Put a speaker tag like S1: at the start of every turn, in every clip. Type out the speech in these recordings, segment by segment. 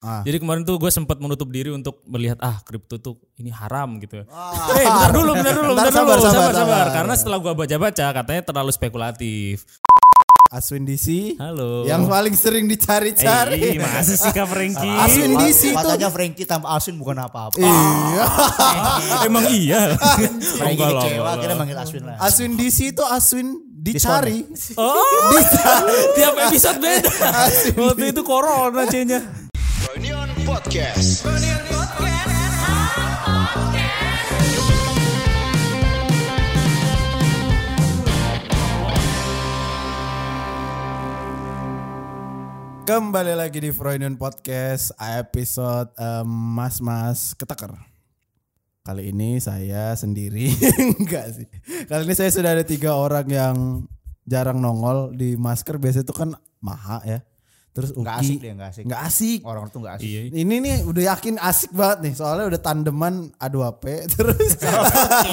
S1: Ah.
S2: Jadi kemarin tuh gue sempat menutup diri untuk melihat ah kripto tuh ini haram gitu. Eh bentar dulu, bentar dulu, bentar, dulu,
S1: Ah. Bentar, sabar,
S2: sabar,
S1: sabar,
S2: sabar,
S1: sabar.
S2: Karena setelah gue baca-baca katanya terlalu spekulatif.
S1: Aswin DC
S2: Halo.
S1: yang paling sering
S2: Eh, ih,
S1: dicari-cari.
S2: masa sih Kak Franky?
S1: Aswin
S3: Ma-
S1: DC tuh.
S3: Makanya Iya, Frankie tanpa Aswin bukan apa-apa.
S1: Iya.
S2: Emang iya.
S3: Frankie
S2: Enggak lah,
S3: kecewa
S2: enggak
S3: akhirnya
S2: lah.
S3: manggil Aswin lah.
S1: Aswin DC itu Aswin dicari.
S2: Oh, tiap episode beda. Waktu itu corona C-nya.
S4: Reunion Podcast.
S1: Kembali lagi di Freudian Podcast episode em, Mas Mas Keteker. Kali ini saya sendiri enggak sih. Kali ini saya sudah ada tiga orang yang jarang nongol di masker biasanya tuh kan Maha ya. Terus Uki.
S3: Enggak asik dia, enggak asik. Oh,
S1: Nggak asik.
S3: Orang tuh enggak asik.
S2: Iya.
S1: Ini nih udah yakin asik banget nih soalnya udah tandeman A2P terus
S2: Aduh.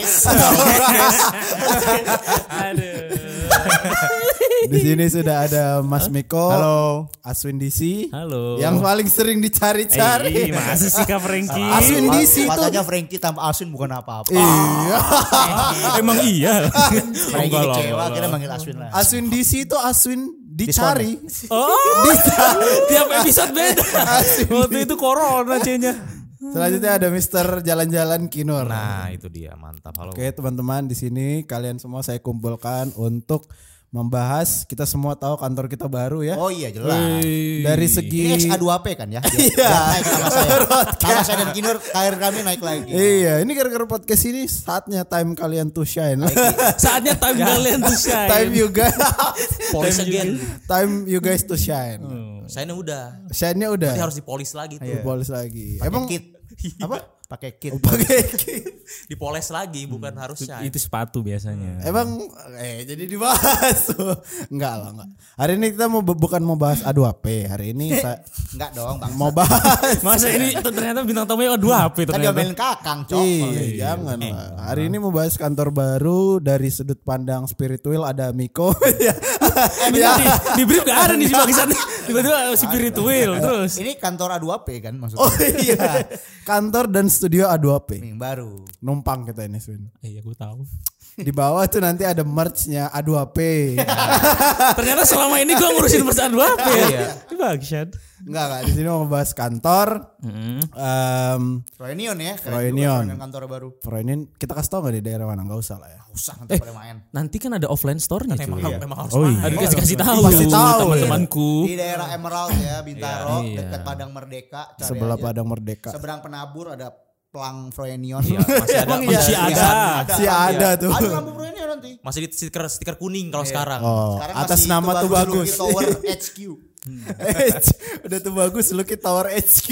S1: di sini sudah ada Mas Miko,
S3: Halo.
S1: Aswin DC,
S2: Halo.
S1: yang paling sering
S2: Eh,
S1: dicari-cari.
S2: masa sih Kak Franky?
S1: Aswin
S3: Ma-
S1: DC tuh.
S3: Makanya Frankie tanpa Aswin bukan apa-apa.
S1: Iya.
S2: Emang iya.
S3: Frankie
S2: Enggak lah,
S3: kecewa
S2: enggak lah.
S3: akhirnya manggil Aswin lah.
S1: Aswin DC itu Aswin dicari.
S3: ya?
S2: Oh, tiap episode beda. Waktu itu corona C-nya.
S1: Selanjutnya ada Mister Jalan-Jalan Kinur.
S5: Nah itu dia mantap halo.
S1: Oke teman-teman di sini kalian semua saya kumpulkan untuk membahas kita semua tahu kantor kita baru ya.
S3: Oh iya jelas.
S1: Dari segi
S2: Iya.
S3: Ini XA2P kan ya? Biar- biar naik sama saya.
S2: kan?
S3: Sama saya dan Kinur karir kami naik lagi.
S1: Iya, ini gara-gara podcast ini saatnya time kalian to shine.
S2: Saatnya time kalian tuh shine.
S1: time you guys
S5: Polis again.
S1: time you guys to shine.
S3: Hmm.
S5: Saya udah.
S1: Shine-nya udah.
S5: Tapi harus dipolis lagi tuh.
S1: Dipolis lagi.
S3: Iya. Pakai
S1: Emang
S3: kit.
S2: Iya.
S1: apa?
S3: Pakai kit.
S2: Oh,
S1: Pakai kit.
S5: Dipoles lagi bukan harus ya. shine.
S2: Itu sepatu biasanya.
S1: Emang eh jadi dibahas. enggak lah, enggak. Hari ini kita mau bukan mau bahas A2P. Hari ini saya
S3: Enggak dong, Bang.
S1: mau bahas
S2: Masa ini ternyata bintang tamunya oh, dua HP
S3: Tadi
S2: ternyata. Iya.
S3: omelin Kan Kakang, Cok. gitu.
S1: Ih, Iya, jangan
S3: Eh,
S1: lah. Hari ini mau bahas kantor baru dari sudut pandang spiritual ada Miko. Ya.
S3: Eh,
S2: Bentar, di, di brief gak ada nih si bagisan. Tiba-tiba spiritual terus.
S3: Ini kantor A2P kan maksudnya.
S1: oh iya. Kantor dan studio A2P.
S3: Yang baru.
S1: Numpang kita ini, Swin.
S2: Iya, gue tahu.
S1: Di bawah tuh nanti ada merch-nya A2P.
S2: Ternyata selama ini gue ngurusin perusahaan dua HP ya. Bagisan.
S1: Enggak, enggak. Di sini mau bahas kantor.
S3: Hmm.
S1: Em,
S3: Reunion ya. keren
S1: Reunion.
S3: juga Kantor baru.
S1: Pro ini kita kasih tau gak di daerah mana? Enggak usah lah ya.
S3: Usah
S2: Eh.
S3: nanti pada main.
S2: Nanti kan ada offline store-nya cuy.
S5: Memang,
S2: Iya.
S5: memang harus
S2: Oh
S5: main.
S2: iya. Aduh kasih kasih tahu
S1: Pasti tahu,
S2: teman-temanku.
S3: di daerah Emerald ya Bintaro
S2: Iya.
S3: dekat Padang Merdeka cari
S1: Sebelah
S3: aja.
S1: Padang Merdeka.
S3: seberang penabur ada Plang Froenion
S5: Masih ada
S1: Emang iya.
S2: Masih
S5: masih
S2: ada.
S1: Si ada tuh.
S3: Iya. ada lampu Froenion nanti
S5: masih di stiker stiker kuning
S2: Iya.
S5: kalau sekarang.
S1: Oh,
S3: Sekarang
S1: atas
S3: masih gitu.
S1: nama
S3: itu
S1: tuh
S3: baru
S1: bagus.
S3: Lucky Tower HQ
S1: H- Udah tuh bagus Lucky Tower HQ.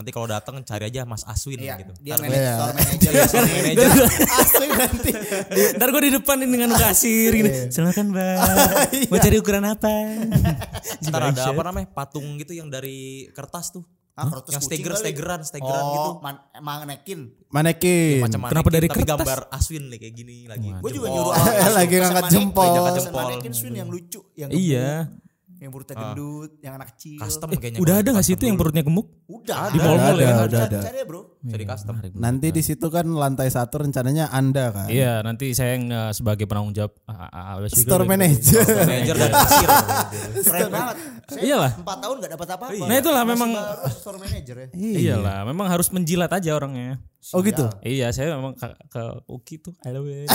S5: Nanti kalau datang cari aja Mas Aswin
S3: iya
S5: gitu.
S3: dia
S5: Ntar-
S3: manajer
S1: Iya.
S3: store manager ya sorry.
S5: manajer.
S1: Asli nanti.
S2: Ntar gue di depan ini dengan kasir gini. Silakan bang. Mau cari ukuran apa?
S5: Ntar ada apa namanya patung gitu yang dari kertas tuh.
S2: Iya.
S3: Ah, kertas
S5: yang
S3: kucing
S5: steger
S3: kali.
S5: stegeran stegeran gitu.
S3: oh man- manekin
S1: Manekin.
S5: Macam
S2: Kenapa
S5: manekin,
S2: dari
S5: tapi
S2: kertas? Oh.
S5: gambar Aswin nih kayak gini lagi.
S3: gue juga
S5: Jempol.
S3: nyuruh
S1: Lagi ngangkat jempol.
S3: angkat
S5: Jempol.
S3: manekin swing yang lucu yang gemuk,
S2: Iya.
S3: yang perutnya
S1: Ah.
S3: gendut yang anak kecil
S5: custom kayaknya.
S2: Eh, Udah
S5: kalau
S2: ada gak sih
S5: custom
S2: itu yang
S5: dulu.
S2: perutnya gemuk?
S3: udah
S2: Di mall-mall ya?
S1: Ada, ada,
S3: cari ya, bro
S5: Jadi custom.
S1: Nanti di situ kan lantai satu rencananya Anda kan.
S2: Nah. Iya, nanti saya yang eh, sebagai penanggung jawab ah, ah, ah, juga
S1: Store
S2: udah
S1: manager.
S5: Manajer dan kasir.
S1: Iya
S3: keren banget saya
S2: Iyalah.
S3: empat tahun gak dapat apa-apa
S2: Nah, itulah
S3: Masih
S2: memang-
S3: baru store manager ya
S1: Iya.
S2: gitu. Iyalah, memang harus menjilat aja orangnya.
S1: Oh gitu.
S2: Iya, saya memang ke, ke Uki tuh. I love you.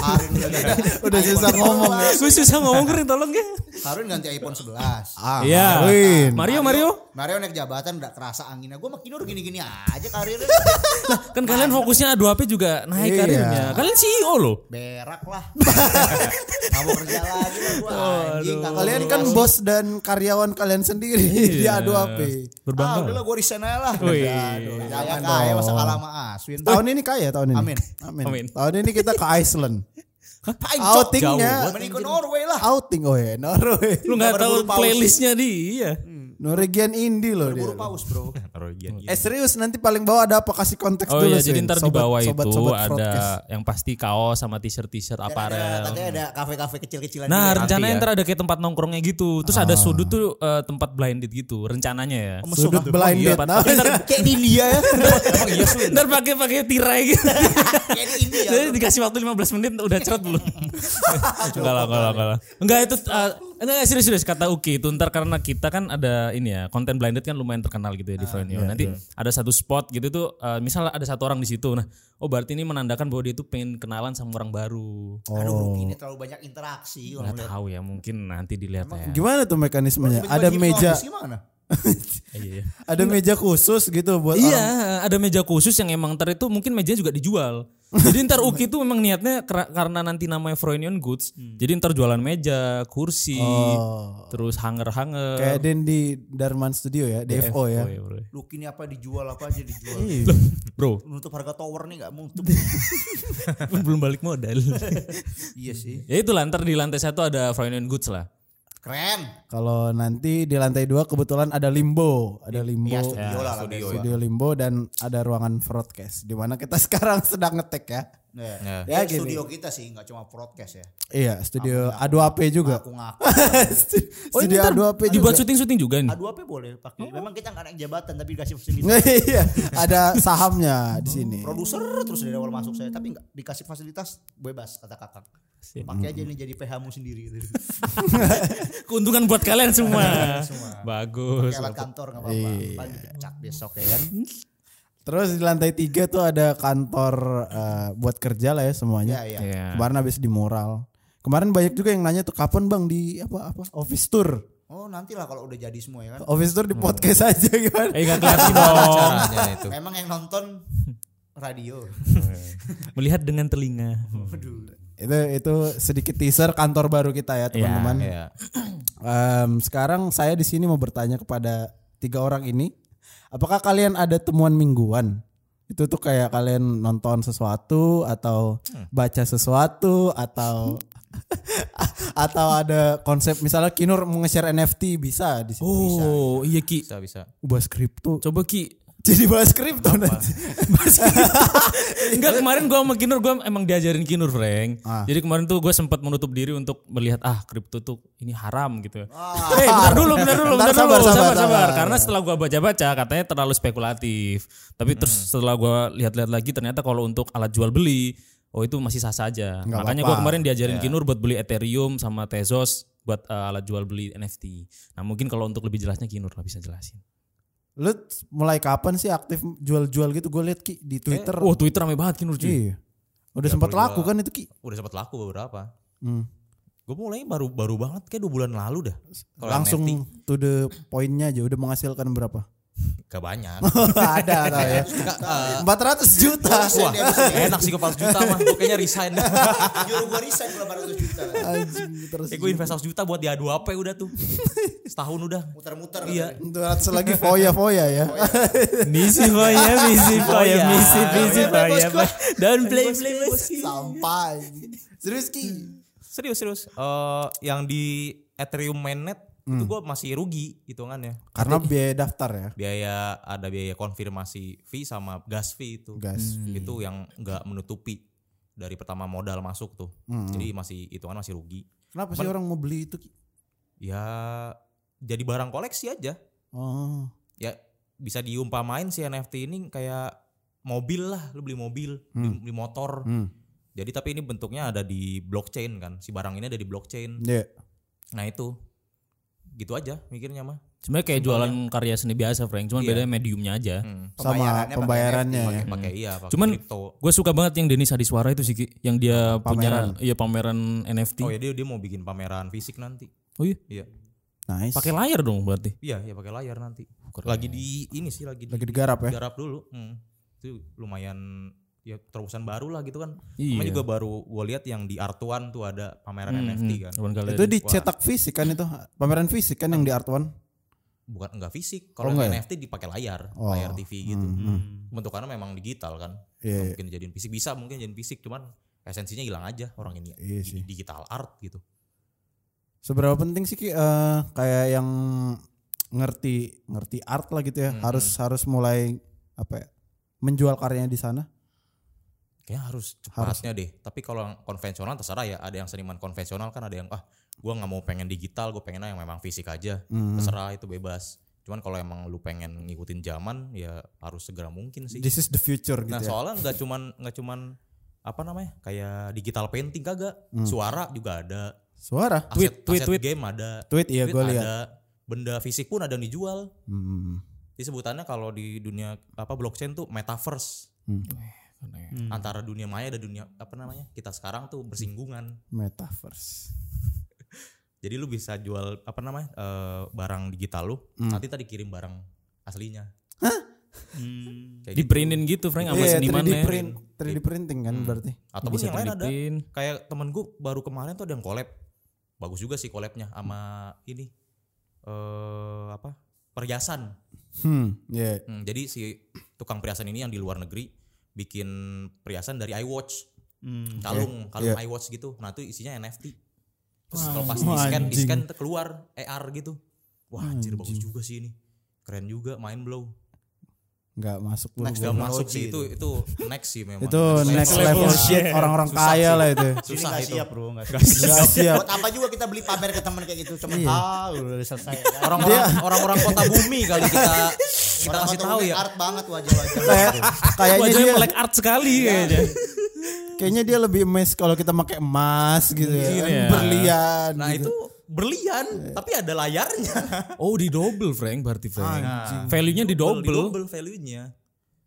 S3: Harun udah ganti-
S1: Udah susah ngomong ya.
S2: Gue susah ngomong keren tolong ya.
S3: Harun ganti iPhone 11.
S1: Ah,
S2: Iya.
S1: Marwin.
S2: Mario, Mario.
S3: Mario naik jabatan udah kerasa anginnya. Gue makin Kinur gini-gini aja karirnya.
S2: Kan kalian fokusnya A2P juga naik
S1: Iya.
S2: karirnya. Kalian CEO loh.
S3: Berak lah. Gak mau kerja lagi lah gue anjing. kagak
S1: Kalian
S2: iya.
S3: jelas.
S1: kan bos dan karyawan kalian sendiri di A2P.
S3: Ah
S2: Berbangga.
S3: udah
S2: loh.
S3: lah gue resign aja lah.
S2: Wih.
S3: Aduh, Kaya kaya masa kalah sama Aswin.
S1: Tahun ini kaya tahun ini.
S3: Amin.
S1: Amin.
S2: Amin.
S1: Tahun ini kita ke Iceland.
S3: Paling cok.
S1: Outingnya
S3: Mending ke Norway lah.
S1: outing oh ya Norway.
S2: Lu nggak tahu
S3: Nggak berburu paus.
S1: Hmm.
S2: playlistnya dia. iya.
S1: Norwegian indie loh dia.
S3: Buru paus bro.
S5: Norwegian.
S1: Eh serius nanti paling bawah ada apa kasih konteks
S2: Oh
S1: dulu
S2: iya, jadi
S1: Sin.
S2: ntar di
S1: Sobat-
S2: bawah
S1: sobat-
S2: itu
S1: sobat Iya,
S2: ada
S1: broadcast.
S2: yang pasti kaos sama t-shirt-t-shirt
S3: Dan ada-
S2: aparel.
S3: Katanya ada kafe-kafe kecil-kecilan.
S2: Nah,
S3: gitu.
S2: rencananya ntar ada kayak tempat nongkrongnya gitu. Terus ada sudut tuh eh, tempat blinded gitu rencananya ya.
S1: sudut blinded.
S2: Pak.
S1: Nah,
S3: kayak di India ya.
S2: Emang iya sulit. Ntar pakai pakai tirai gitu.
S3: kayak di India.
S2: Jadi dikasih waktu 15 menit udah cerot belum? enggak lah, enggak lah, enggak lah. Enggak itu eh, enggak enggak, serius serius kata Uki itu ntar karena kita kan ada ini ya, konten blinded kan lumayan terkenal gitu ya di Frenio. Nanti ada satu spot gitu tuh eh, misal ada satu orang di situ. Nah, oh berarti ini menandakan bahwa dia tuh pengen kenalan sama orang baru.
S3: Aduh, rugi ini terlalu banyak
S2: Nggak
S3: interaksi. orang lihat.
S2: tahu ya, mungkin nanti dilihat ya.
S1: Gimana tuh mekanismenya? Ada
S3: Tiba-tiba
S1: meja
S3: hipnotis gimana?
S2: Iya, iya.
S1: ada meja khusus gitu buat
S2: Iya, ada meja khusus yang emang ntar itu mungkin mejanya juga dijual. Jadi ntar Uki tuh memang niatnya kera- karena nanti namanya Froynion Goods, jadi ntar jualan meja, kursi,
S1: Oh.
S2: terus hanger-hanger.
S1: kayak Den di Darman Studio ya, DFO ya.
S2: Oh, iya, bro.
S3: Luki ini apa dijual apa aja dijual.
S2: Iya. Bro,
S3: Menutup harga tower nih gak menutup.
S2: belum balik modal.
S3: iya sih.
S2: ya itulah ntar di lantai satu ada Froynion Goods lah.
S3: Keren.
S1: Kalau nanti di lantai dua kebetulan ada limbo, ada limbo.
S3: Iya studio lah.
S1: Studio, limbo dan ada ruangan broadcast di mana kita sekarang sedang ngetek ya.
S2: Nah.
S3: Ya,
S1: Ya,
S3: Ini
S1: gini.
S3: studio kita sih nggak cuma podcast ya.
S1: Iya, studio A2AP juga.
S3: Aku ngaku.
S2: Oh ini
S1: studio
S2: ntar
S1: A2AP juga.
S2: dibuat syuting-syuting juga nih.
S3: Aduh apa
S2: Iya.
S3: boleh pakai. Memang kita nggak naik jabatan tapi dikasih fasilitas.
S1: Iya, ada sahamnya di sini.
S3: Produser terus dari awal masuk saya tapi nggak dikasih fasilitas bebas kata kakak. Pakai aja ini jadi PH mu sendiri gitu.
S2: Keuntungan buat kalian semua. Bagus.
S3: Kayak alat kantor nggak apa-apa. Paling dipecat besok ya kan.
S1: Terus di lantai tiga tuh ada kantor eh, buat kerja lah ya semuanya.
S3: Iya, iya.
S2: Iya.
S1: Kemarin habis di moral. Kemarin banyak juga yang nanya tuh kapan bang di apa apa office tour.
S3: Oh nantilah kalau udah jadi semua ya kan.
S1: Office tour di podcast aja gimana?
S2: Eh gak kelihatan dong.
S5: Caranya itu.
S3: Memang yang nonton radio.
S2: Melihat dengan telinga.
S3: Waduh.
S1: Itu itu sedikit teaser kantor baru kita ya teman-teman.
S5: Iya.
S1: Em, sekarang saya di sini mau bertanya kepada tiga orang ini, apakah kalian ada temuan mingguan? Itu tuh kayak kalian nonton sesuatu atau
S2: Hmm.
S1: baca sesuatu atau atau ada konsep misalnya Kinur mau nge-share NFT bisa di situ.
S2: Oh iya Ki.
S5: Bisa bisa.
S1: Bahas kripto.
S2: Coba Ki
S1: Jadi bahas kripto nanti.
S2: Enggak kemarin gua sama Kinur gua emang diajarin Kinur Frank. Jadi kemarin tuh gue sempat menutup diri untuk melihat ah kripto tuh ini haram gitu. Eh bentar dulu, bentar dulu, bentar, dulu,
S1: Bentar, sabar,
S2: sabar,
S1: sabar,
S2: sabar,
S1: sabar.
S2: Karena setelah gua baca-baca katanya terlalu spekulatif. Tapi terus setelah gua lihat-lihat lagi ternyata kalau untuk alat jual beli, oh itu masih sah saja. Makanya gua kemarin diajarin Kinur buat beli Ethereum sama Tezos buat eh, alat jual beli NFT. Nah mungkin kalau untuk lebih jelasnya Kinur lah bisa jelasin.
S1: Lu mulai kapan sih aktif jual-jual gitu? Gue liat Ki di Twitter.
S2: Wah Oh, Twitter rame banget Kinur Eh, cuy.
S1: Iya. Udah sempat laku kan itu Ki.
S5: Udah sempat laku beberapa.
S1: Hmm.
S5: Gue mulai baru baru banget kayak dua bulan lalu dah. Kalau
S1: langsung
S5: NFT,
S1: to the poinnya aja udah menghasilkan berapa?
S5: gak banyak.
S1: ada ada ya. 400 juta.
S5: Wah, enak sih kepala juta mah. Gue kayaknya resign.
S3: Juru gua resign 800 juta.
S1: Anjing, terus
S5: Eh gue invest 100 juta buat di A2P udah tuh. Setahun udah.
S3: Muter-muter.
S5: Iya.
S1: 200 lagi foya-foya ya.
S2: Misi foya, misi foya,
S5: Foya.
S2: misi, misi foya. Don't play, play,
S1: Sampai. Serius Ki.
S5: Serius serius. Eh yang di Ethereum mainnet
S1: Hmm.
S5: itu gue masih rugi hitungannya.
S1: Karena biaya daftar ya.
S5: Biaya ada biaya konfirmasi fee sama gas fee itu.
S1: Gas
S5: Itu yang nggak menutupi dari pertama modal masuk tuh.
S1: Hmm.
S5: Jadi masih hitungan masih rugi.
S1: Kenapa sih orang mau beli itu Ki?
S5: Ya jadi barang koleksi aja.
S1: Oh.
S5: Ya bisa diumpamain si NFT ini kayak mobil lah, lu beli mobil, beli, beli motor.
S1: Hmm.
S5: Jadi tapi ini bentuknya ada di blockchain kan. Si barang ini ada di blockchain.
S1: Iya.
S5: Nah itu gitu aja mikirnya mah.
S2: Sebenarnya kayak jualan karya seni biasa, Frank. Cuman
S5: Iya.
S2: bedanya mediumnya aja.
S1: Sama
S3: Pembayarannya pakai
S1: pembayarannya ya.
S5: Pakai Hmm. pakai iya pakai
S2: Ya. Cuman-
S5: kripto.
S2: Gue suka banget yang Denis Adiswara itu sih, Ki. yang dia
S1: Pameran.
S2: punya iya pameran NFT.
S5: Oh
S2: Oh iya.
S5: ya dia dia mau bikin pameran fisik nanti. Iya.
S1: Nice.
S2: Pakai layar dong berarti.
S5: Iya, ya pakai layar nanti. Lagi di ini sih lagi,
S1: lagi digarap ya.
S5: garap dulu. Hmm. Itu lumayan ya terobosan baru lah gitu kan.
S2: Iya. Hmm,
S5: Namanya juga baru gue lihat yang di Artuan tuh ada pameran NFT kan.
S2: Cuman kalian-
S1: Itu dicetak fisik kan itu. Pameran fisik kan yang di Art One.
S5: Bukan enggak fisik.
S1: Oh,
S5: Kalau
S1: ya?
S5: yang NFT dipakai layar, layar TV gitu.
S3: Hmm.
S5: Bentukannya memang digital kan.
S1: Iya, Oh.
S5: Nggak
S1: Hmm, iya.
S5: Mungkin jadiin fisik bisa, mungkin jadiin fisik cuman esensinya hilang aja orang ini.
S1: Iya
S5: Di-
S1: sih.
S5: Digital art gitu.
S1: Seberapa penting sih Ki, eh, kayak yang ngerti ngerti art lah gitu ya. Harus harus mulai apa ya? Menjual karyanya di sana.
S5: Kayaknya harus cepatnya deh. Tapi kalau yang konvensional terserah ya. Ada yang seniman konvensional kan ada yang ah gue nggak mau pengen digital, gue pengen yang memang fisik aja.
S1: Hmm.
S5: Terserah itu bebas. Cuman kalau emang lu pengen ngikutin zaman ya harus segera mungkin sih.
S1: This is the future gitu
S5: Nah
S1: ya.
S5: soalnya nggak cuman nggak cuman apa namanya kayak digital painting kagak,
S1: Hmm.
S5: suara juga ada,
S1: Suara.
S2: Tweet,
S5: aset,
S2: tweet,
S5: aset
S2: tweet.
S5: game ada,
S1: Tweet iya gue lihat.
S5: ada, benda fisik pun ada yang dijual.
S1: Hmm.
S5: Jadi sebutannya kalau di dunia apa blockchain tuh metaverse
S1: Hmm.
S2: Hmm.
S5: antara dunia maya dan dunia apa namanya kita sekarang tuh bersinggungan.
S1: Metaverse.
S5: Jadi lu bisa jual apa namanya eh, barang digital lu,
S2: Hmm.
S5: nanti tadi kirim barang aslinya.
S3: Hmm.
S5: Hah?
S2: Di printin gitu Frank sama
S1: Iya,
S2: seniman
S1: 3D
S2: ya.
S1: print, 3D printing kan berarti.
S5: Ataupun
S2: Bisa
S5: yang lain ada.
S2: dibikin.
S5: Kayak temen gue baru kemarin tuh ada yang collab. Bagus juga sih collabnya sama ini eh apa? Perhiasan.
S1: Hmm, iya.
S5: Hmm, jadi si tukang perhiasan ini yang di luar negeri bikin perhiasan dari iWatch. Hmm.
S1: Hmm, Iya.
S5: kalung, kalung iWatch gitu. Nah, itu isinya NFT. Terus kalau pas di-scan,
S1: anjing.
S5: di-scan tuh keluar AR gitu. Wah, anjir bagus juga sih ini. Keren juga, mind blow.
S1: nggak masuk dulu.
S5: Next gak masuk sih itu itu next sih memang.
S1: Itu next level shit orang-orang kaya lah itu.
S3: Ini
S5: Susah
S3: nggak
S5: itu.
S3: siap bro, nggak
S1: Nggak siap.
S3: Buat apa juga kita beli pamer ke teman kayak gitu? Cuma ah udah selesai. kan?
S1: Iya.
S5: Orang-orang orang-orang kota bumi kali kita kita
S3: Orang
S5: kasih
S3: foto
S5: tahu
S3: unik
S5: ya.
S3: Art banget wajah-wajah.
S1: Kayak kayaknya
S2: Wajahnya
S1: dia
S2: melek art sekali kayaknya.
S1: kayaknya dia lebih emas kalau kita pakai emas gitu ya.
S2: Iya.
S1: kan, Berlian.
S5: Nah,
S1: gitu.
S5: itu
S1: Iya.
S5: berlian tapi ada layarnya.
S2: Oh di double Frank berarti Frank.
S1: Ah.
S2: Value-nya di double.
S5: double value-nya.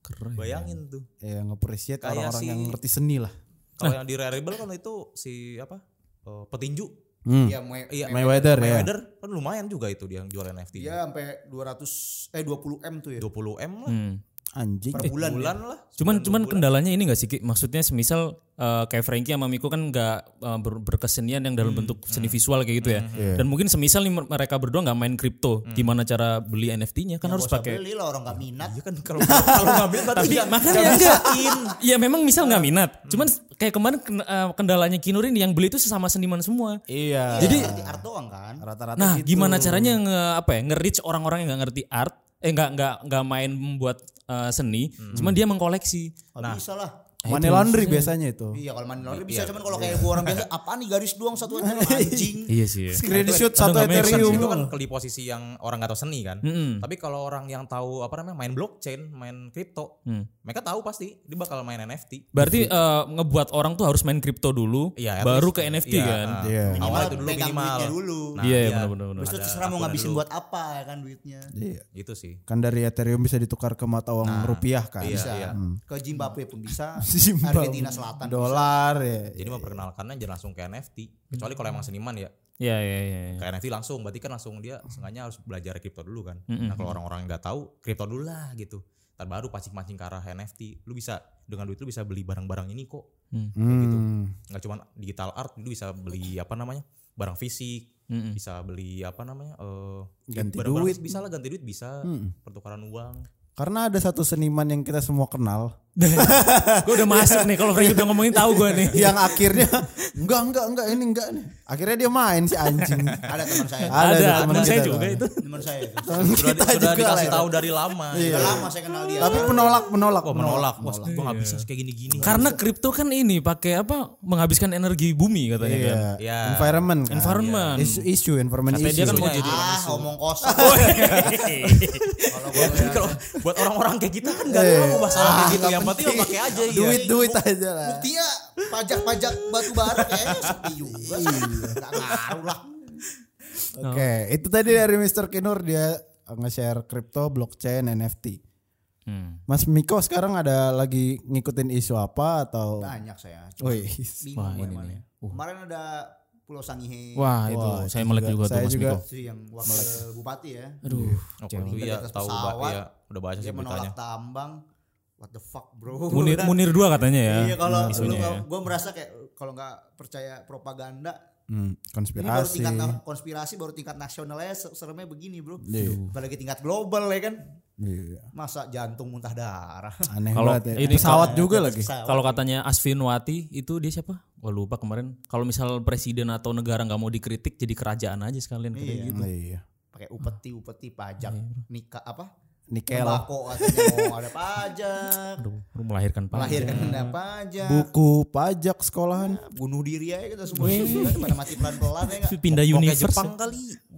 S2: Keren.
S5: Bayangin tuh.
S1: ya nge-appreciate
S5: Kayak
S1: orang-orang
S5: si-
S1: yang ngerti seni lah.
S2: Nah.
S5: Kalau yang di rareable kan itu si apa? eh, petinju.
S3: Iya, Mue-
S5: Iya,
S1: Hmm. Mayweather ya.
S5: Mayweather kan lumayan juga itu dia yang jual NFT.
S3: Dia iya, sampai 200 eh 20 m tuh ya.
S5: 20M lah.
S2: Hmm. iya.
S1: Anjing.
S3: Per bulan.
S5: bulan lah.
S2: Cuman cuman kendalanya ini gak sih Ki? Maksudnya semisal eh, kayak Frankie sama Miko kan gak eh, ber- berkesenian yang dalam bentuk seni visual kayak gitu ya. Dan mungkin semisal nih mereka berdua nggak main kripto, gimana cara beli NFT-nya kan harus
S3: Gak Ya, usah
S2: pakai
S3: beli lah orang nggak minat.
S5: Iya kan kalau kalau ngambil berarti
S2: tapi
S5: nggak-
S2: makanya
S5: nggak
S2: enggak
S5: bisain.
S2: ya memang misal nggak minat cuman kayak kemarin ken- eh, kendalanya Kinurin yang beli itu sesama seniman semua
S1: Iya.
S3: Jadi ngerti art doang kan.
S1: rata-rata
S2: nah
S1: gitu.
S2: gimana caranya nge apa ya nge-reach orang-orang yang nggak ngerti art eh nggak nggak nggak main membuat eh, seni cuman dia mengkoleksi
S3: Nggak
S5: Nah.
S3: bisa lah.
S1: Money laundry biasanya itu.
S3: Iya kalau mandi laundry bisa cuman kalau
S5: iya.
S3: kayak gua orang biasa apa nih garis doang satu aja anjing.
S2: iya sih
S1: Screenshot
S2: Aduh,
S1: satu
S2: nggak make sense
S1: Ethereum.
S5: itu kan di posisi yang orang nggak tahu seni kan. Tapi kalau orang yang tahu apa namanya main blockchain, main kripto,
S2: Hmm.
S5: mereka tahu pasti dia bakal main NFT.
S2: berarti eh, ngebuat orang tuh harus main kripto dulu
S5: Iya, at
S2: baru
S5: least.
S2: ke NFT
S5: Iya,
S2: kan
S5: nah,
S1: Iya.
S5: Awal itu dulu
S3: pegang
S5: minimal.
S3: duitnya dulu.
S5: Nah,
S2: Iya,
S5: iya.
S2: iya benar-benar
S3: Terus
S5: ada
S3: terserah mau
S5: aturan
S3: ngabisin
S5: dulu.
S3: buat apa ya kan duitnya.
S1: Iya.
S5: Itu sih.
S1: Kan dari Ethereum bisa ditukar ke mata uang rupiah kan.
S5: Iya,
S3: Nah, Bisa.
S5: iya.
S3: Ke Zimbabwe pun bisa.
S1: Zimbabwe.
S3: Argentina Selatan.
S1: Dolar ya.
S3: iya,
S5: Jadi memperkenalkannya jangan langsung ke NFT. Kecuali
S2: Hmm.
S5: kalau emang seniman ya,
S2: iya iya iya iya.
S5: ke NFT langsung. Berarti kan langsung dia
S1: Hmm.
S5: sengaja harus belajar kripto dulu kan. Nah kalau orang-orang yang nggak tahu, kripto dulu lah gitu. Ntar baru pancing-pancing ke arah NFT. Lu bisa dengan duit lu bisa beli barang-barang ini kok. gitu.
S1: Hmm.
S5: nggak cuma digital art lu bisa beli apa namanya barang fisik bisa beli apa namanya eh
S1: Hmm, Ganti
S5: barang-barang
S1: duit. Hmm,
S5: bisa lah ganti duit bisa pertukaran uang
S1: Karena ada satu seniman yang kita semua kenal
S2: gue udah masuk nih kalau Frank udah ngomongin tahu gue nih
S1: yang akhirnya enggak enggak enggak ini enggak nih. Akhirnya dia main si anjing.
S3: Ada teman saya.
S1: Ada
S2: ada
S1: teman
S2: teman saya
S1: kita
S2: juga
S1: tuh.
S2: itu
S3: Teman saya itu.
S5: sudah,
S1: Kita
S5: sudah
S1: juga
S5: dikasih
S1: lah ya.
S5: tahu dari lama
S3: Udah lama saya kenal dia. Ah,
S1: Tapi menolak menolak Iya.
S5: Wah, menolak wah gue nggak bisa kayak Iya. gini gini
S2: karena kripto kan ini pakai apa menghabiskan energi bumi katanya kan
S1: Iya.
S5: Iya.
S1: Environment kan.
S2: Environment.
S1: Isu isu environment
S2: Katanya dia
S1: issue.
S2: kan mau jadi
S3: ah, ngomong kosong. Kalau gua
S5: Jadi kalau buat orang-orang kayak kita kan
S1: Iya.
S5: nggak tahu masalah kayak gitu yang penting lo pakai aja ya
S2: Iya.
S1: duit duit aja lah.
S3: buktinya pajak-pajak batu bara kayaknya sepi juga.
S5: Iya.
S3: Enggak ngaruh lah.
S2: Oh.
S1: Oke, itu tadi dari Mr. Kinur dia nge-share kripto, blockchain, NFT.
S2: Hmm.
S1: Mas Miko sekarang ada lagi ngikutin isu apa atau?
S3: Banyak saya.
S1: Wih,
S3: Bingung gua emangnya.
S5: Uh.
S3: Kemarin ada Pulau Sangihe.
S2: wah itu
S1: Wah,
S2: saya melek juga, tuh
S1: saya
S2: Mas
S1: juga
S2: Miko
S3: Itu yang wakil bupati ya.
S2: aduh
S5: Oke, lu ya
S3: Di atas
S5: tahu Mbak,
S3: pesawat,
S5: ya udah baca sih
S3: Dia
S5: beritanya
S3: menolak tambang. What the fuck bro.
S2: Munir
S3: Udah.
S2: Munir dua katanya ya.
S3: Iya kalau lu
S2: isunya ya.
S3: gue merasa kayak kalau nggak percaya propaganda
S1: Hmm,
S3: ini baru
S1: konspirasi.
S3: tingkat na- konspirasi baru tingkat nasionalnya se- seremnya begini bro.
S1: Iya.
S3: Apalagi tingkat global ya kan.
S1: Iya,
S3: Masa jantung muntah darah.
S1: Aneh
S2: Kalau
S1: banget ya.
S2: ini
S1: pesawat
S2: kalau-
S1: juga lagi.
S2: Kalau katanya Asvinwati itu dia siapa? Gua lupa kemarin. Kalau misal presiden atau negara nggak mau dikritik jadi kerajaan aja sekalian katanya gitu.
S1: Iya.
S3: pakai upeti upeti pajak
S2: Iya,
S3: nikah apa
S1: nikel
S3: tembakau katanya mau ada pajak
S2: Aduh, lu melahirkan pala.
S3: melahirkan ada pajak
S1: buku pajak sekolahan
S3: bunuh diri aja kita semua Kan pada mati pelan pelan ya nggak
S2: pindah
S5: Mau kayak
S2: universe. ya.
S5: Jepang kali.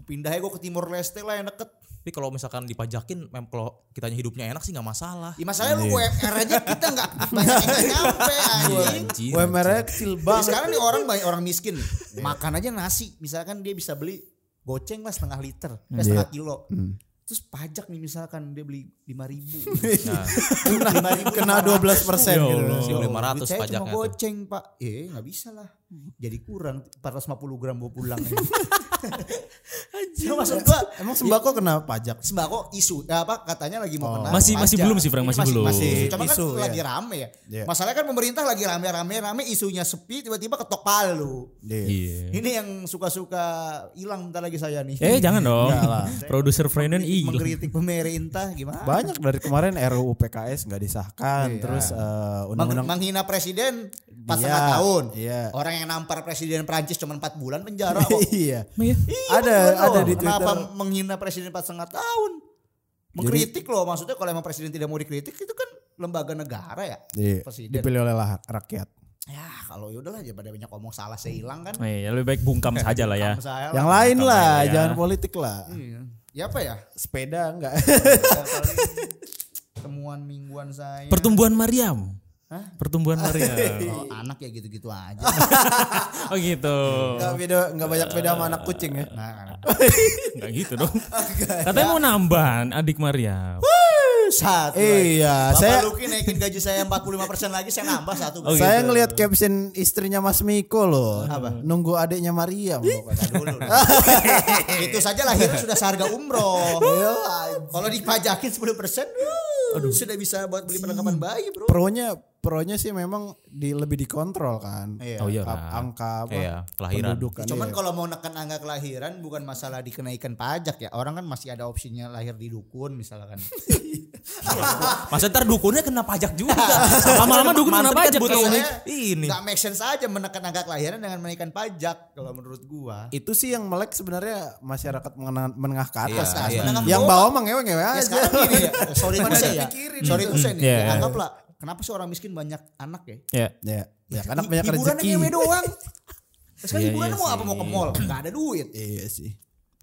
S3: pindahnya gue ke Timor Leste lah yang deket
S5: Tapi kalau misalkan dipajakin, mem kalau kitanya hidupnya enak sih nggak masalah.
S3: Ya, masalahnya
S2: Iya.
S3: lu UMR aja kita nggak banyak yang nyampe Iya, anjing
S2: Iya.
S5: Anjir.
S1: UMR-nya kecil
S3: Jadi
S1: banget
S3: sekarang nih orang banyak orang miskin nih. makan aja nasi misalkan dia bisa beli goceng lah setengah liter eh,
S2: Iya.
S3: setengah kilo
S1: Hmm.
S3: terus pajak nih misalkan dia beli lima ribu
S5: Nah,
S3: lima ribu
S1: kena 12 persen
S2: Ya
S1: gitu
S2: Allah.
S5: sih 500
S3: saya
S5: pajaknya.
S3: cuma
S5: tuh.
S3: goceng pak eh nggak bisa lah jadi kurang 450 gram bawa pulang Anjir. maksud gua
S1: emang sembako kena pajak
S3: sembako isu ya apa katanya lagi mau kena
S2: Masih- masih
S3: pajak.
S2: belum sih, Frank,
S3: Ini
S2: masih belum.
S3: cuma
S1: Oh. Isu,
S3: kan
S1: ya.
S3: lagi rame ya
S1: Iya.
S3: masalahnya kan pemerintah lagi rame rame rame isunya sepi tiba-tiba ketok palu
S1: Iya.
S2: Iya.
S3: ini yang suka-suka hilang bentar lagi saya nih
S2: Eh jangan dong.
S1: Enggak lah.
S2: Produser iya. Frenan
S3: Mengkritik-
S2: hilang.
S3: mengkritik pemerintah gimana
S1: banyak dari kemarin RUU PKS nggak disahkan
S3: Iya.
S1: terus eh,
S3: Meng-
S1: undang-undang
S3: menghina presiden empat
S1: Iya,
S3: setengah tahun
S1: iya.
S3: orang yang nampar presiden Prancis cuma empat bulan penjara kok
S1: iya
S2: Iya.
S3: Iya,
S1: Ada-
S3: betul.
S1: ada di
S3: Kenapa
S1: Twitter.
S3: menghina presiden empat setengah tahun? Mengkritik loh maksudnya kalau emang presiden tidak mau dikritik itu kan lembaga negara ya.
S1: Iya.
S3: Presiden.
S1: dipilih oleh lah- rakyat
S3: Ya kalau ya udahlah daripada banyak ngomong salah saya hilang kan.
S2: Eh, ya lebih baik bungkam saja lah ya.
S3: Sama saya
S1: yang
S3: lah.
S1: lain lah
S2: ya.
S1: jangan politik lah
S3: Iya. Ya apa ya?
S1: sepeda enggak
S3: Saya paling temuan mingguan saya.
S2: Pertumbuhan Mariam.
S3: Hah?
S2: Pertumbuhan Mariam.
S3: Oh, anak ya gitu-gitu aja.
S2: Oh gitu.
S1: enggak beda enggak banyak beda sama anak kucing ya
S3: Nah, kan.
S2: Enggak gitu dong. Katanya mau nambah adik Mariam.
S3: satu. lagi.
S1: iya
S3: Eh, Bapak
S1: saya iya.
S3: Luki naikin gaji saya 45% lagi saya nambah satu.
S2: Oh,
S1: saya
S2: gitu.
S1: ngelihat caption istrinya Mas Miko loh nunggu adiknya Mariam
S3: Baca dulu. itu saja lahirnya sudah seharga umroh. Kalau dipajakin 10 persen, sudah bisa buat beli perlengkapan bayi bro.
S1: pronya pronya sih memang di lebih dikontrol kan
S3: Iya.
S2: Oh iya.
S1: Angka- angka apa
S5: Iya, kelahiran.
S1: penduduk kan,
S3: Cuman
S1: iya.
S3: kalau mau nekan angka kelahiran bukan masalah dikenaikan pajak ya. Orang kan masih ada opsinya lahir di dukun misalkan.
S5: Masa ntar dukunnya kena pajak juga.
S2: Lama-lama dukun kena
S5: Mantep kan
S2: pajak
S5: butuh
S2: kayaknya.
S5: ini.
S3: Gak make sense aja menekan angka kelahiran dengan menaikkan pajak kalau menurut gua.
S1: itu sih yang melek sebenarnya masyarakat menengah, menengah ke atas
S5: Iya,
S1: kan.
S5: iya.
S3: Menengah ke
S1: Yang
S3: bawah.
S1: bawah mah ngewe-ngewe
S3: Ya
S1: aja.
S3: sekarang gini ya. Sorry to say ya. Sorry to say nih.
S2: Iya,
S3: ya
S2: iya.
S3: Anggaplah kenapa sih orang miskin banyak anak ya?
S2: Ya.
S1: Ya, ya karena banyak
S3: hiburan
S1: rezeki.
S3: ngewe doang. Terus kan
S2: Iya,
S3: hiburan
S2: iya
S3: mau apa mau ke mall? Gak ada duit.
S1: Iya sih.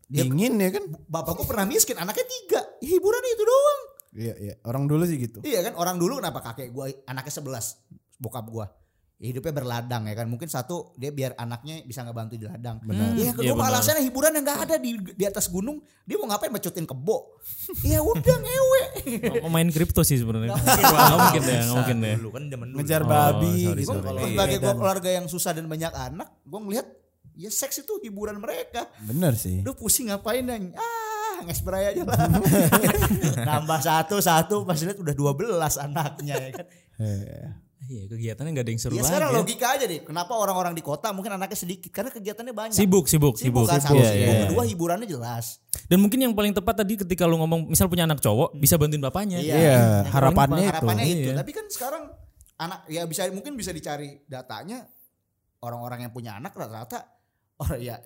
S1: Dingin ya kan?
S3: Bapakku pernah miskin, anaknya tiga. Hiburan itu doang.
S1: Iya, iya. Orang dulu sih gitu.
S3: Iya kan orang dulu kenapa kakek gua anaknya 11 bokap gua Ya, hidupnya berladang ya kan mungkin satu dia biar anaknya bisa ngebantu di ladang
S1: Benar.
S3: iya
S2: Iya,
S3: kedua
S2: benar.
S3: alasannya hiburan yang gak ada di di atas gunung dia mau ngapain mecutin kebo ya udah ngewe
S2: Mau main kripto sih sebenarnya. Enggak mungkin ya, enggak mungkin ya.
S5: Dulu kan zaman dulu.
S1: Ngejar
S2: Oh,
S1: babi
S2: sorry,
S1: gitu.
S2: sorry.
S1: Kalau
S5: Iya.
S3: sebagai gua
S1: Medan.
S3: keluarga yang susah dan banyak anak gua ngelihat ya seks itu hiburan mereka
S1: Bener sih.
S3: Lu pusing ngapain neng? Ah, nges beray aja lah. Nambah satu satu pas lihat udah 12 anaknya ya kan.
S1: Iya.
S2: Iya, kegiatannya enggak ada yang seru
S3: Ya
S2: lagi.
S3: sekarang
S2: ya.
S3: logika aja deh. Kenapa orang-orang di kota mungkin anaknya sedikit karena kegiatannya banyak.
S2: Sibuk, sibuk, sibuk.
S3: Sibuk, kan satu
S2: Iya,
S3: sibuk.
S2: iya.
S3: Kedua hiburannya jelas.
S2: Dan mungkin yang paling tepat tadi ketika lu ngomong misal punya anak cowok bisa bantuin bapaknya.
S3: Iya.
S1: Iya,
S2: Yang
S1: harapannya itu.
S3: Harapannya itu.
S2: Iya.
S3: Tapi kan sekarang anak ya bisa mungkin bisa dicari datanya orang-orang yang punya anak rata-rata orang ya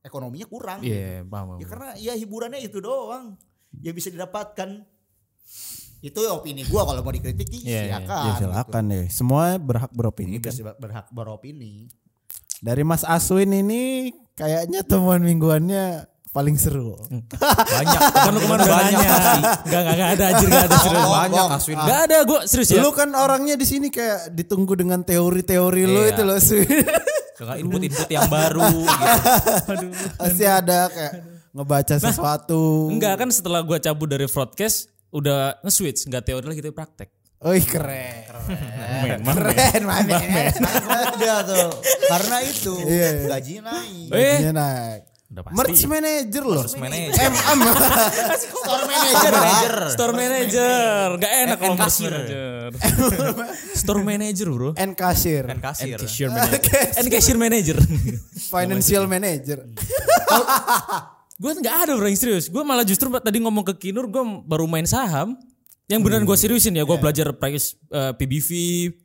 S3: ekonominya kurang.
S2: Iya, paham. paham.
S3: Ya karena ya hiburannya itu doang yang bisa didapatkan. Itu opini gua kalau mau dikritik
S2: Iya, iya.
S3: silakan.
S1: Ya silakan deh. Semua berhak beropini.
S3: Ini
S1: kan.
S3: bisa berhak beropini.
S1: Dari Mas Aswin ini kayaknya temuan mingguannya paling seru.
S5: Banyak.
S2: Kan lu kemarin banyak. Enggak, enggak, enggak ada anjir, enggak ada serius.
S5: Banyak
S3: Ah,
S5: Aswin.
S2: Enggak ada, gua serius ya.
S1: Lu kan orangnya di sini kayak ditunggu dengan teori-teori lu
S5: Iya.
S1: itu loh. Aswin.
S5: Dengan input-input yang baru gitu.
S1: Pasti ada kayak ngebaca sesuatu.
S2: Nah, Enggak kan setelah gua cabut dari broadcast udah nge-switch, enggak teori lagi tapi praktek.
S1: Oi keren.
S2: Main, main.
S1: Keren mana?
S3: Ada tuh. Karena itu
S1: Iya, iya.
S3: gaji naik.
S2: Eh,
S1: Gajinya naik.
S2: udah
S1: Merch
S2: pasti.
S1: manager loh.
S2: Eh,
S5: Manager.
S1: MM.
S3: Store manager lah.
S2: Store manager, enggak enak
S5: And-
S2: kalau
S5: and
S2: merch
S5: cashier.
S2: manager. Store manager, Bro.
S1: And cashier.
S5: Dan kasir.
S2: Cashier manager. And Ah, cashier manager.
S1: Financial manager.
S2: gue nggak ada bro yang serius. Gue malah justru tadi ngomong ke Kinur, gue baru Hmm. Iya. main saham. Yang beneran gue seriusin ya, gue belajar price eh, PBV,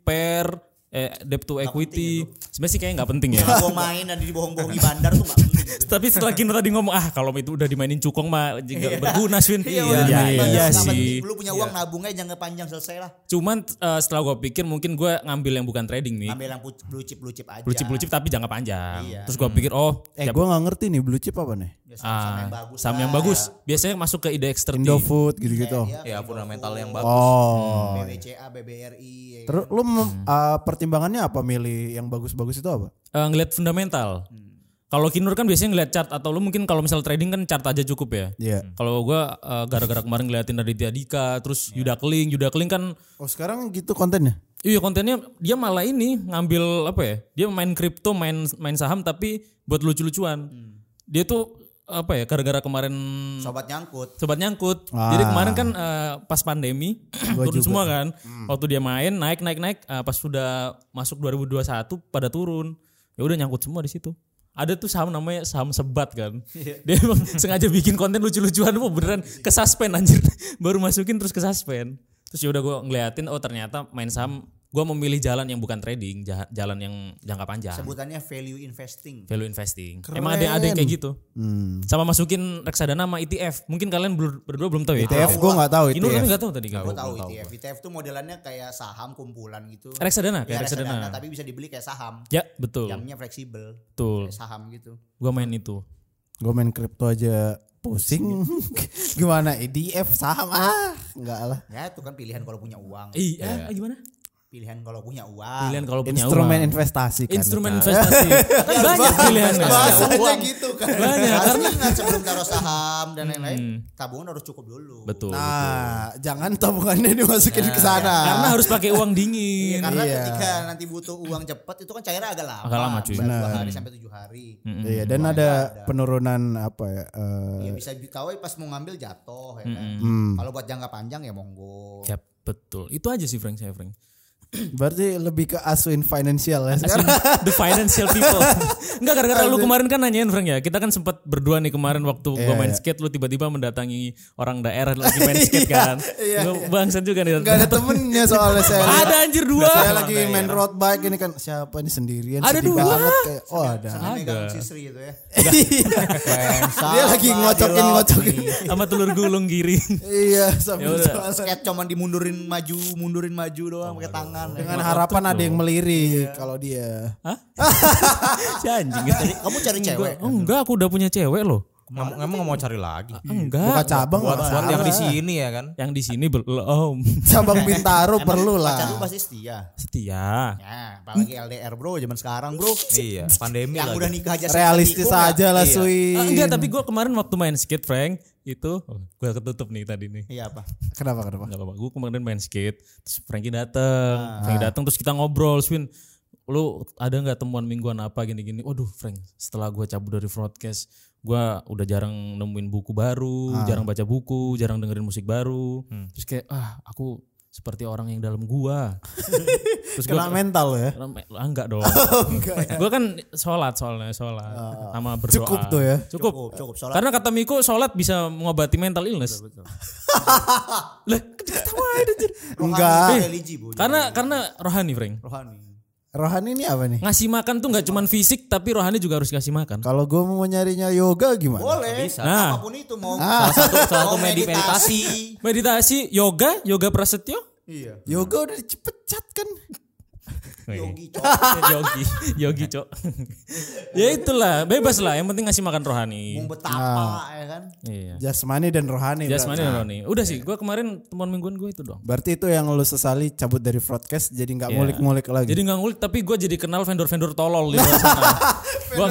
S2: pair, eh, debt to equity. Sebenarnya sih kayaknya nggak penting ya.
S3: Gue main dan dibohong-bohongi bandar tuh gitu. gak penting.
S2: Tapi setelah Kino tadi ngomong ah kalau itu udah dimainin cukong mah juga berguna Swin. Iya, iya, iya
S3: Nggak
S2: sih.
S3: penting. Lu punya uang nabungnya jangan panjang selesai lah.
S2: Cuman eh, setelah gue pikir mungkin gue ngambil yang bukan trading nih.
S3: Ambil yang put- blue chip blue chip aja.
S2: Blue chip blue chip tapi jangka panjang. Terus gue pikir oh
S1: Eh
S2: tiap-
S1: gue gak ngerti nih blue chip apa nih.
S3: Ya, sama- sama
S2: ah,
S3: yang bagus.
S2: saham yang
S3: lah.
S2: bagus. Biasanya masuk ke IDX 30.
S1: Indofood gitu-gitu.
S3: Iya, gitu.
S5: ya fundamental yang bagus.
S1: Oh.
S3: BWCA,
S2: iya.
S3: BBRI. ya
S1: Terus lu mem- uh, pertimbangannya apa milih yang bagus-bagus itu apa?
S2: Eh, ngelihat fundamental. Kalau Kinur kan biasanya ngelihat chart atau lu mungkin kalau misal trading kan chart aja cukup ya.
S1: Iya.
S2: Kalau gua eh, gara-gara kemarin ngeliatin dari Dika, terus Yuda Keling, Yuda Keling kan
S1: Oh sekarang gitu kontennya?
S2: iya kontennya dia malah ini ngambil apa ya? Dia main kripto, main main saham tapi buat lucu-lucuan. Dia tuh apa ya gara-gara kemarin
S3: kan. Sobat nyangkut.
S2: sobat nyangkut.
S1: Ah.
S2: Jadi kemarin kan eh, pas pandemi turun
S1: juga.
S2: semua kan. Waktu dia main naik naik naik eh, pas sudah masuk 2021 pada turun. Ya udah nyangkut semua di situ. Ada tuh saham namanya saham sebat kan. Dia emang sengaja bikin konten lucu-lucuan mau beneran ke suspend anjir. Baru masukin terus ke suspend. Terus ya udah gua ngeliatin oh ternyata main saham gua memilih jalan yang bukan trading, jah- jalan yang jangka panjang.
S3: Sebutannya value investing.
S2: Value investing. Emang ada yang ada yang kayak gitu.
S1: Hmm.
S2: Sama masukin reksadana sama ETF. Mungkin kalian bel- berdua belum tahu ya.
S1: ETF gue gak ya. tahu
S2: Inur tapi
S1: ETF.
S2: nggak tahu tadi kan.
S3: Gue tahu ya. ETF. ETF tuh modelannya kayak saham kumpulan gitu.
S2: Reksadana,
S3: Ya,
S2: kayak reksadana.
S3: reksadana, tapi bisa dibeli kayak saham.
S2: kan? Ya betul,
S3: Jamnya fleksibel.
S2: betul.
S3: Kayak saham gitu.
S2: Gua main itu.
S1: Gue main kripto aja pusing. Gimana E ETF saham ah? Enggak lah.
S3: Ya itu kan pilihan kalau punya uang.
S2: Iya, ah, gimana?
S3: Pilihan kalau punya uang.
S2: Pilihan kalau punya
S1: Instrumen
S2: uang.
S1: investasi kan.
S2: Instrumen investasi. Kan
S3: Iya,
S2: banyak pilihannya.
S3: Bahasanya gitu kan.
S2: Banyak, Hmm.
S3: Harusnya kan sebelum taruh saham dan lain-lain, tabungan harus cukup dulu.
S2: Betul.
S1: Nah, jangan tabungannya dimasukin ke sana.
S2: Karena harus pakai uang
S3: Iya,
S2: dingin.
S3: karena
S1: Iya.
S3: ketika nanti butuh uang cepat itu kan cairnya agak lama.
S2: Agak lama, cuy. Hmm.
S3: Bisa Dua
S1: Benar.
S3: hari sampai tujuh hari.
S1: Iya, dan ada penurunan apa ya? eh,
S3: Ya bisa dikawai pas mau ngambil jatuh ya kan.
S2: Hmm.
S1: Hmm.
S3: Kalau buat jangka panjang ya monggo.
S2: Ya, betul. Itu aja sih Frank saya Frank.
S1: berarti lebih ke asuin financial ya.
S2: Asli, the financial people. Enggak gara-gara lu kemarin kan nanyain Frank ya. Kita kan sempat berdua nih kemarin waktu gua main skate lu tiba-tiba mendatangi orang daerah lagi main skate kan. Gua bangsat juga nih.
S1: Gak ada temennya soalnya saya. lihat.
S2: Ada anjir dua.
S1: Saya lagi main road bike ini kan siapa nih sendirian
S2: Ada
S1: sedih
S2: dua. Iya.
S1: banget kayak oh ada.
S3: Ini megang si Sri itu ya.
S1: Dia lagi ngocokin ngocokin.
S2: sama telur gulung giring.
S1: Iya sambil
S2: Yaudah.
S1: jalan.
S3: Skate cuman dimundurin maju, mundurin maju doang pakai tangan. ya.
S1: dengan harapan ada yang melirik kalau dia.
S2: Iya. Hah? si anjing gitu.
S3: Jadi, Kamu cari cewek.
S2: Oh, enggak, aku udah punya cewek loh.
S5: Emang emang mau cari lagi.
S2: Ah,
S1: Buka
S2: Enggak.
S1: cabang
S5: Buat
S1: apa?
S5: buat yang di sini ya kan.
S2: Yang di sini belum.
S1: Cabang Bintaro perlu
S3: Pacar lu
S1: lah.
S3: pasti setia.
S2: Setia.
S3: Ya, apalagi LDR bro zaman sekarang bro.
S5: Iya, pandemi
S3: Yang udah
S5: lagi.
S3: nikah aja
S1: Realistis
S3: seketikung ya.
S1: aja lah
S2: Ah,
S1: Sui.
S2: Iya. enggak, tapi gue kemarin waktu main skate, Frank, itu oh, gue ketutup nih tadi nih.
S3: Iya apa?
S1: Kenapa kenapa?
S2: Enggak apa-apa. Gue kemarin main skate, terus Frankie dateng, Frankie dateng, terus kita ngobrol, Swin. Lu ada nggak temuan mingguan apa gini-gini? Waduh, Frank, setelah gue cabut dari broadcast, gue udah jarang nemuin buku baru, jarang baca buku, jarang dengerin musik baru. Terus kayak ah, aku seperti orang yang dalam gua. terus gue
S1: Kena mental lo ya.
S2: ah, enggak dong.
S1: Oh,
S2: Gue kan sholat soalnya sholat sama berdoa.
S1: Ah, Cukup tuh ya.
S2: Cukup.
S3: Cukup, cukup sholat.
S2: Karena kata Miko sholat bisa mengobati mental illness. Lah, ketawain anjir.
S1: Enggak. Eh,
S2: Eh.
S3: Rohani, religi bu.
S2: Karena karena rohani, Frank.
S3: rohani.
S1: Rohani ini apa nih?
S2: Ngasih makan tuh nggak cuman fisik tapi rohani juga harus ngasih makan.
S1: Kalau gue mau nyarinya yoga gimana?
S3: Boleh.
S2: Nah.
S3: Apapun itu mau salah satu
S5: salah satu medi- meditasi.
S2: Meditasi, yoga, yoga prasetyo.
S3: Iya.
S1: Yoga udah dipecat kan?
S3: Yogi cok.
S2: eh, yogi, yogi, Cok. ya itulah, bebas lah, yang penting ngasih makan rohani.
S3: Mau betapa ya kan.
S2: Iya.
S1: Jasmani dan rohani.
S2: Jasmani
S1: berarti.
S2: dan rohani. Udah sih, gua kemarin temuan mingguan gue itu dong.
S1: Berarti itu yang lu sesali cabut dari broadcast jadi nggak mulik-mulik lagi.
S2: Iya. Jadi nggak ngulik tapi gue jadi kenal vendor-vendor tolol di luar sana. Gua,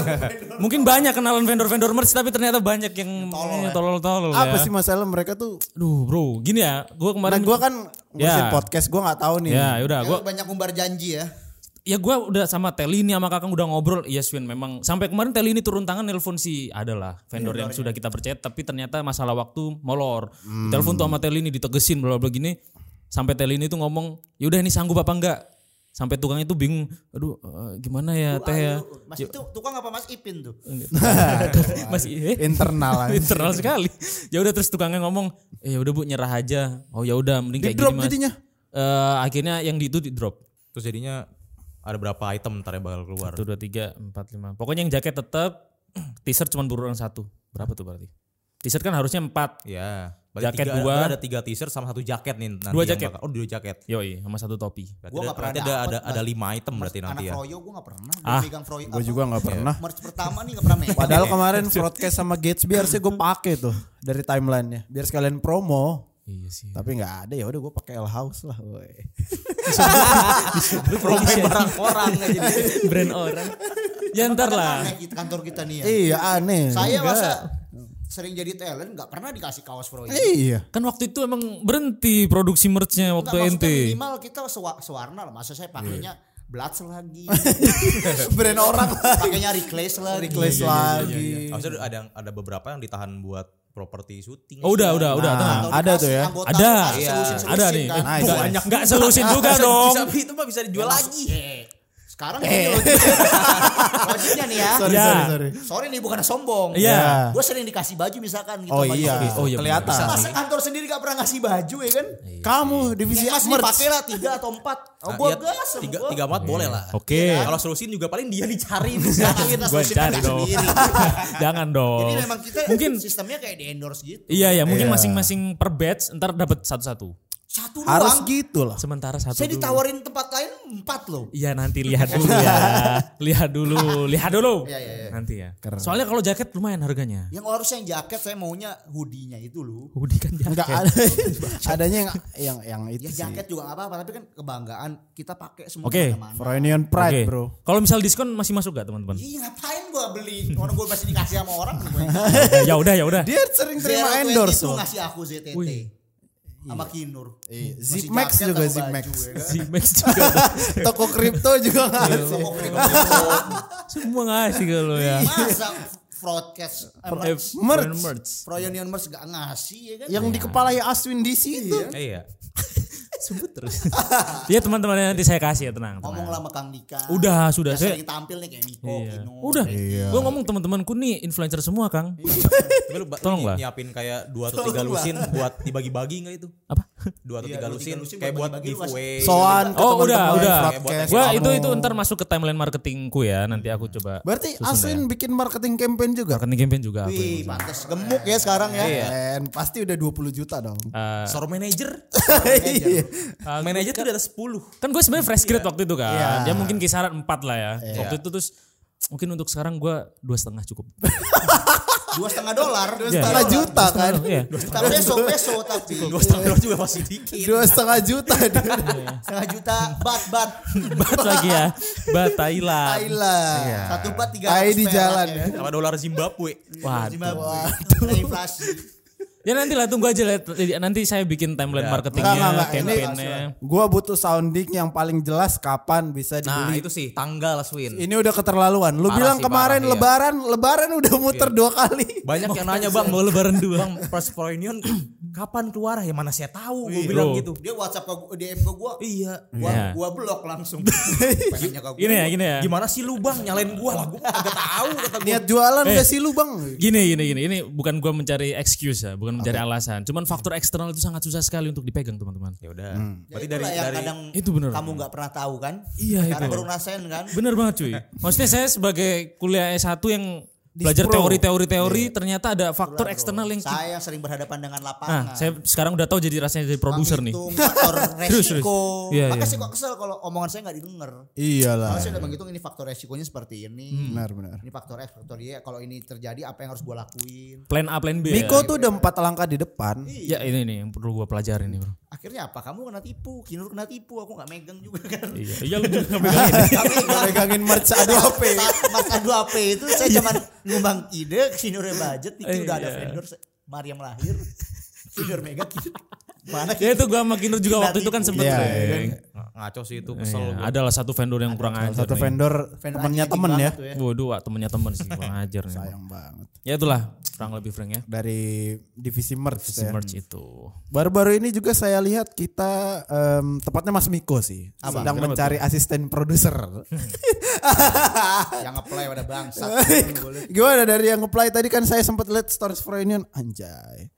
S2: mungkin banyak kenalan vendor-vendor merch tapi ternyata banyak yang eh, tolol-tolol ya.
S1: apa sih masalah mereka tuh?
S2: Duh bro, gini ya, gue
S1: Nah,
S2: kemarin
S1: gua kan ngurusin
S2: Ya.
S1: podcast, gua nggak tahu nih.
S2: ya udah gue
S3: Gua banyak umbar janji ya.
S2: ya gue udah sama Teli ini sama Kakang udah ngobrol. Iya Swin memang sampai kemarin Teli ini turun tangan nelpon si adalah vendor yang sudah kita percaya tapi ternyata masalah waktu molor. Telepon tuh sama Teli ini ditegesin bla bla gini sampai Teli ini tuh ngomong, "Yaudah ini sanggup apa enggak?" Sampai tukang itu bingung, "Aduh, eh, gimana ya Teh ya?"
S3: Aduh, Mas itu tukang apa Mas Ipin tuh?
S1: Gitu.
S2: Masih eh?
S1: Internal aja.
S2: internal sekali. Ya udah terus tukangnya ngomong, "Eh ya udah Bu nyerah aja." Oh ya udah mending kayak gini
S1: Di-drop
S2: Mas.
S1: jadinya?
S2: Eh, akhirnya yang di itu di drop.
S5: Terus jadinya ada berapa item ntar yang bakal keluar.
S2: Satu, dua, tiga, empat, lima. Pokoknya yang jaket tetap, t-shirt cuma buruan satu. Berapa tuh berarti? T-shirt kan harusnya empat.
S5: Ya.
S2: Jaket
S5: tiga,
S2: dua.
S5: Ada tiga t-shirt sama satu jaket nih. Nanti
S2: Dua
S5: yang
S2: jaket.
S5: bakal- oh dua jaket.
S2: Yoi, sama satu topi.
S3: Gua
S5: Berarti, ada,
S3: nggak pernah
S5: berarti ada,
S3: dapet,
S5: ada, ada
S3: Mas.
S5: lima item berarti nanti
S3: Anak
S5: ya.
S3: Froyo gue gak pernah. Gua
S2: Ah,
S3: megang Froyo.
S1: Gue
S3: apa,
S1: juga nggak pernah.
S3: Merch pertama nih gak pernah megang.
S1: Padahal kemarin broadcast sama Gates harusnya gue pakai tuh dari timelinenya biar sekalian promo.
S2: Iya sih.
S1: Tapi nggak ada ya udah gue pakai L House lah. Woy.
S5: Promoin barang orang aja jadi.
S2: Brand orang. ya ntar lah.
S3: Aneh gitu kantor kita nih ya.
S1: Iya aneh.
S3: Saya
S1: Enggak.
S3: masa sering jadi talent gak pernah dikasih kaos Froyo.
S1: Iya.
S2: Kan waktu itu emang berhenti produksi merchnya
S3: Enggak,
S2: waktu
S3: maksudnya
S2: ente.
S3: minimal kita sewa- sewarna lah. Masa saya pakainya
S1: Iya.
S3: Bloods lagi.
S1: Brand orang
S3: pakainya Reclass lah.
S1: Reclass lagi.
S5: Maksudnya ada yang- ada beberapa yang ditahan buat properti syuting.
S2: Oh, udah, udah, udah.
S1: Nah,
S2: tenang.
S1: ada tuh ya.
S2: Ada.
S5: Iya.
S2: Ada nih.
S3: kan.
S1: Nice,
S2: Nggak-
S1: nice.
S2: nggak selusin iya juga dong.
S5: Bisa, itu mah bisa
S3: Iya,
S5: dijual lagi.
S1: Iya.
S3: Sekarang ini logiknya, logiknya nih ya.
S1: Sorry
S2: Ya.
S1: sorry sorry.
S3: Sorry nih bukan sombong.
S2: Iya.
S3: Gue sering dikasih baju misalkan gitu.
S1: Oh
S3: sama
S1: iya.
S3: Yogi.
S2: Oh, iya,
S1: kelihatan.
S2: bisa.
S3: Masa kantor sendiri gak pernah ngasih baju ya kan?
S1: Kamu divisi
S3: Ya, mas nih pakai lah tiga atau empat. Oh,
S5: Nah,
S3: gue
S5: iya,
S3: gas sama
S5: tiga,
S3: gua.
S5: tiga empat boleh lah.
S2: Oke.
S5: Ya, Kalau solusin juga paling dia dicari.
S3: Jangan kita
S2: Gua
S3: sosial
S2: cari dong.
S3: sendiri.
S2: Jangan dong.
S3: Jadi memang kita
S2: mungkin
S3: sistemnya kayak di endorse gitu.
S2: iya ya, mungkin
S1: Iya.
S2: masing-masing per batch ntar dapat satu-satu.
S3: Satu
S1: Harus
S3: doang.
S1: gitu lah.
S2: Sementara satu.
S3: Saya
S2: dulu.
S3: ditawarin tempat lain empat loh.
S2: Iya nanti lihat dulu ya. lihat dulu, lihat dulu.
S3: Iya, iya, iya.
S2: Nanti ya.
S1: Keren.
S2: Soalnya kalau jaket lumayan harganya.
S3: Yang harusnya yang jaket saya maunya hoodie-nya itu loh.
S2: Hoodie kan jaket.
S1: Enggak ada. Adanya yang yang yang itu
S3: Ya
S1: sih.
S3: jaket juga gak apa-apa tapi kan kebanggaan kita pakai semua
S2: Oke.
S3: mana-mana.
S1: Freudian Pride,
S2: Oke.
S1: Bro.
S2: Kalau misal diskon masih masuk gak teman-teman?
S3: Iya ngapain gua beli orang gua masih dikasih sama orang gua. Iya.
S2: ya udah ya udah.
S1: Dia sering terima
S3: 020
S1: endorse
S3: tuh
S1: loh.
S3: ngasih aku ZTT.
S2: Wih.
S3: Sama Kinur.
S1: Iya,
S3: Ngasih
S1: Zipmax
S3: jaket
S1: juga,
S3: sama
S1: Zipmax.
S3: baju, ya kan?
S2: Zimax juga.
S1: Toko kripto juga ngasih.
S3: Toko kripto.
S2: Semua ngasih kalau ya.
S3: Masa broadcast eh, merch,
S1: Merch.
S2: Brand merch.
S3: Pro Union Merch gak ngasih ya kan?
S1: Yang di kepala ya Aswin di situ.
S5: Iya.
S2: Sebut terus. Iya teman-teman nanti saya kasih ya tenang. tenang.
S3: Ngomong lah sama Kang Dika.
S2: Udah sudah
S3: Udah
S2: saya.
S3: sering tampil nih kayak Niko,
S2: Iya.
S3: Kinur.
S2: Udah. Gue ngomong teman-temanku nih influencer semua Kang.
S5: Tapi lu ba-
S2: Tolong
S5: ini
S2: lah.
S5: nyiapin kayak dua atau tiga
S3: Tolong lah.
S5: lusin buat dibagi-bagi nggak itu?
S2: Apa?
S5: Dua atau
S3: Iya, dua, tiga
S5: tiga lusin
S3: lusin
S5: kayak
S3: buat
S5: buat
S3: bagi-bagi lu kasih.
S5: giveaway.
S1: Soan ke
S2: Oh, udah,
S1: teman-teman
S2: udah.
S1: broadcast
S2: Gua
S1: kamu.
S2: itu itu ntar masuk ke timeline marketingku ya. Nanti aku coba.
S1: Berarti
S2: susun
S1: Aswin
S2: deh.
S1: bikin marketing campaign juga.
S2: marketing campaign juga aku.
S3: Wih, pantes gemuk ya sekarang ya.
S1: Keren. Pasti udah 20 juta dong.
S2: Eh,
S5: Seorang manajer.
S1: Iya.
S5: manajer tuh di atas 10.
S2: kan gue sebenarnya fresh grade waktu itu kan
S1: Iya.
S2: dia mungkin kisaran 4 lah ya waktu itu terus mungkin untuk sekarang gue dua setengah cukup
S3: Dua setengah dolar. Dua
S1: Setengah juta kan.
S2: Iya.
S3: Kita peso peso tapi
S5: Dua setengah dolar Iya. juga masih dikit.
S1: Dua setengah juta di
S3: setengah juta bat bat
S2: bat lagi ya bat Thailand
S1: Thailand.
S3: satu bat tiga
S1: Tai
S3: ratus
S1: di
S3: perak
S1: jalan ya.
S5: Sama dolar Zimbabwe.
S2: Waduh.
S3: Zimbabwe Kena inflasi
S2: ya nanti lah tunggu aja lihat nanti saya bikin timeline marketingnya
S1: Iya. Enggak, enggak, enggak. Ini-
S2: campaignnya
S1: Gua butuh sounding yang paling jelas kapan bisa
S5: Nah,
S1: dibeli.
S5: itu sih tanggal Swin.
S1: Ini udah keterlaluan. Lu
S5: Parah
S1: bilang
S5: sih,
S1: kemarin
S5: parah, iya.
S1: lebaran, lebaran udah muter dua kali.
S5: Banyak yang nanya bang mau lebaran dua. Bang Pers Pro Union kapan keluar ya mana saya tahu gue bilang
S2: Loh.
S5: gitu.
S3: dia WhatsApp ke gua- DM ke gua
S5: Iya.
S3: gua
S2: Iya.
S3: gua blok langsung pengennya ke gua
S2: gini ya gini ya
S5: Gimana sih lu bang nyalain gua lah gua agak tahu kata gua.
S1: Niat jualan gak sih lu bang?
S2: gini gini gini ini bukan gue mencari excuse ya bukan mencari alasan cuman faktor eksternal itu sangat susah sekali untuk dipegang teman-teman
S5: Ya udah.
S3: Ya,
S5: Berarti dari
S3: itulah yang
S5: dari
S3: kadang
S2: Itu bener.
S3: kamu nggak pernah tahu kan
S2: Iya,
S3: karena
S2: itu.
S3: baru ngerasain kan
S2: Bener banget cuy. Maksudnya saya sebagai kuliah S1 yang belajar
S1: Dispro.
S2: teori-teori teori ternyata ada faktor eksternal yang ki-
S3: saya sering berhadapan dengan
S2: Nah,
S3: lapangan
S2: saya sekarang udah tahu jadi rasanya jadi produser nih.
S3: Menghitung faktor
S2: Terus, terus.
S3: resiko
S2: Iya,
S3: makanya
S2: iya.
S3: saya kok kesel kalau omongan saya nggak didengar
S1: Iyalah.
S3: Kalau saya udah menghitung ini faktor resikonya seperti ini
S2: Hmm.
S3: Nah,
S1: Benar benar.
S3: ini faktor X faktor Y kalau ini terjadi apa yang harus gua lakuin
S2: Plan A, plan B.
S1: Miko
S2: Ya.
S1: tuh udah empat langkah di depan.
S2: Ya ini nih yang perlu gua pelajarin nih, Bro.
S3: akhirnya apa kamu kena tipu Kinur kena tipu aku nggak megang juga kan
S2: Iya, iya lu juga nggak pegangin.
S1: Megangin merch adu HP.
S3: Saat Mas Adu AP itu saya cuman ngembang ide Kinur budget
S2: Eh,
S3: Niki udah ada
S2: iya.
S3: vendor se- Mariam lahir Kinur Mega Kinur mana
S2: Ya itu gua sama Kinur juga
S3: Kita
S2: waktu itu kan
S3: tipu.
S2: sempet
S1: Iya,
S2: Reng.
S1: iya.
S5: ngaco sih itu
S2: Iya,
S5: kesel gua.
S2: adalah satu vendor yang kurang ajar.
S1: Satu
S2: nih.
S1: vendor
S3: Vendor
S1: temennya
S3: anjing
S1: temen ya.
S3: banget tuh
S2: Waduh, wah, temennya temen sih kurang ajar nih.
S1: Sayang banget.
S2: Ya itulah kurang lebih Frank ya.
S1: Dari divisi merch.
S2: Si
S1: ya.
S2: merch itu.
S1: Baru-baru ini juga saya lihat kita em, tepatnya Mas Miko sih sedang mencari asisten produser.
S3: yang ngeplay pada bangsat
S1: Iya. Gimana dari yang apply tadi kan saya sempat lihat stories for Union anjay.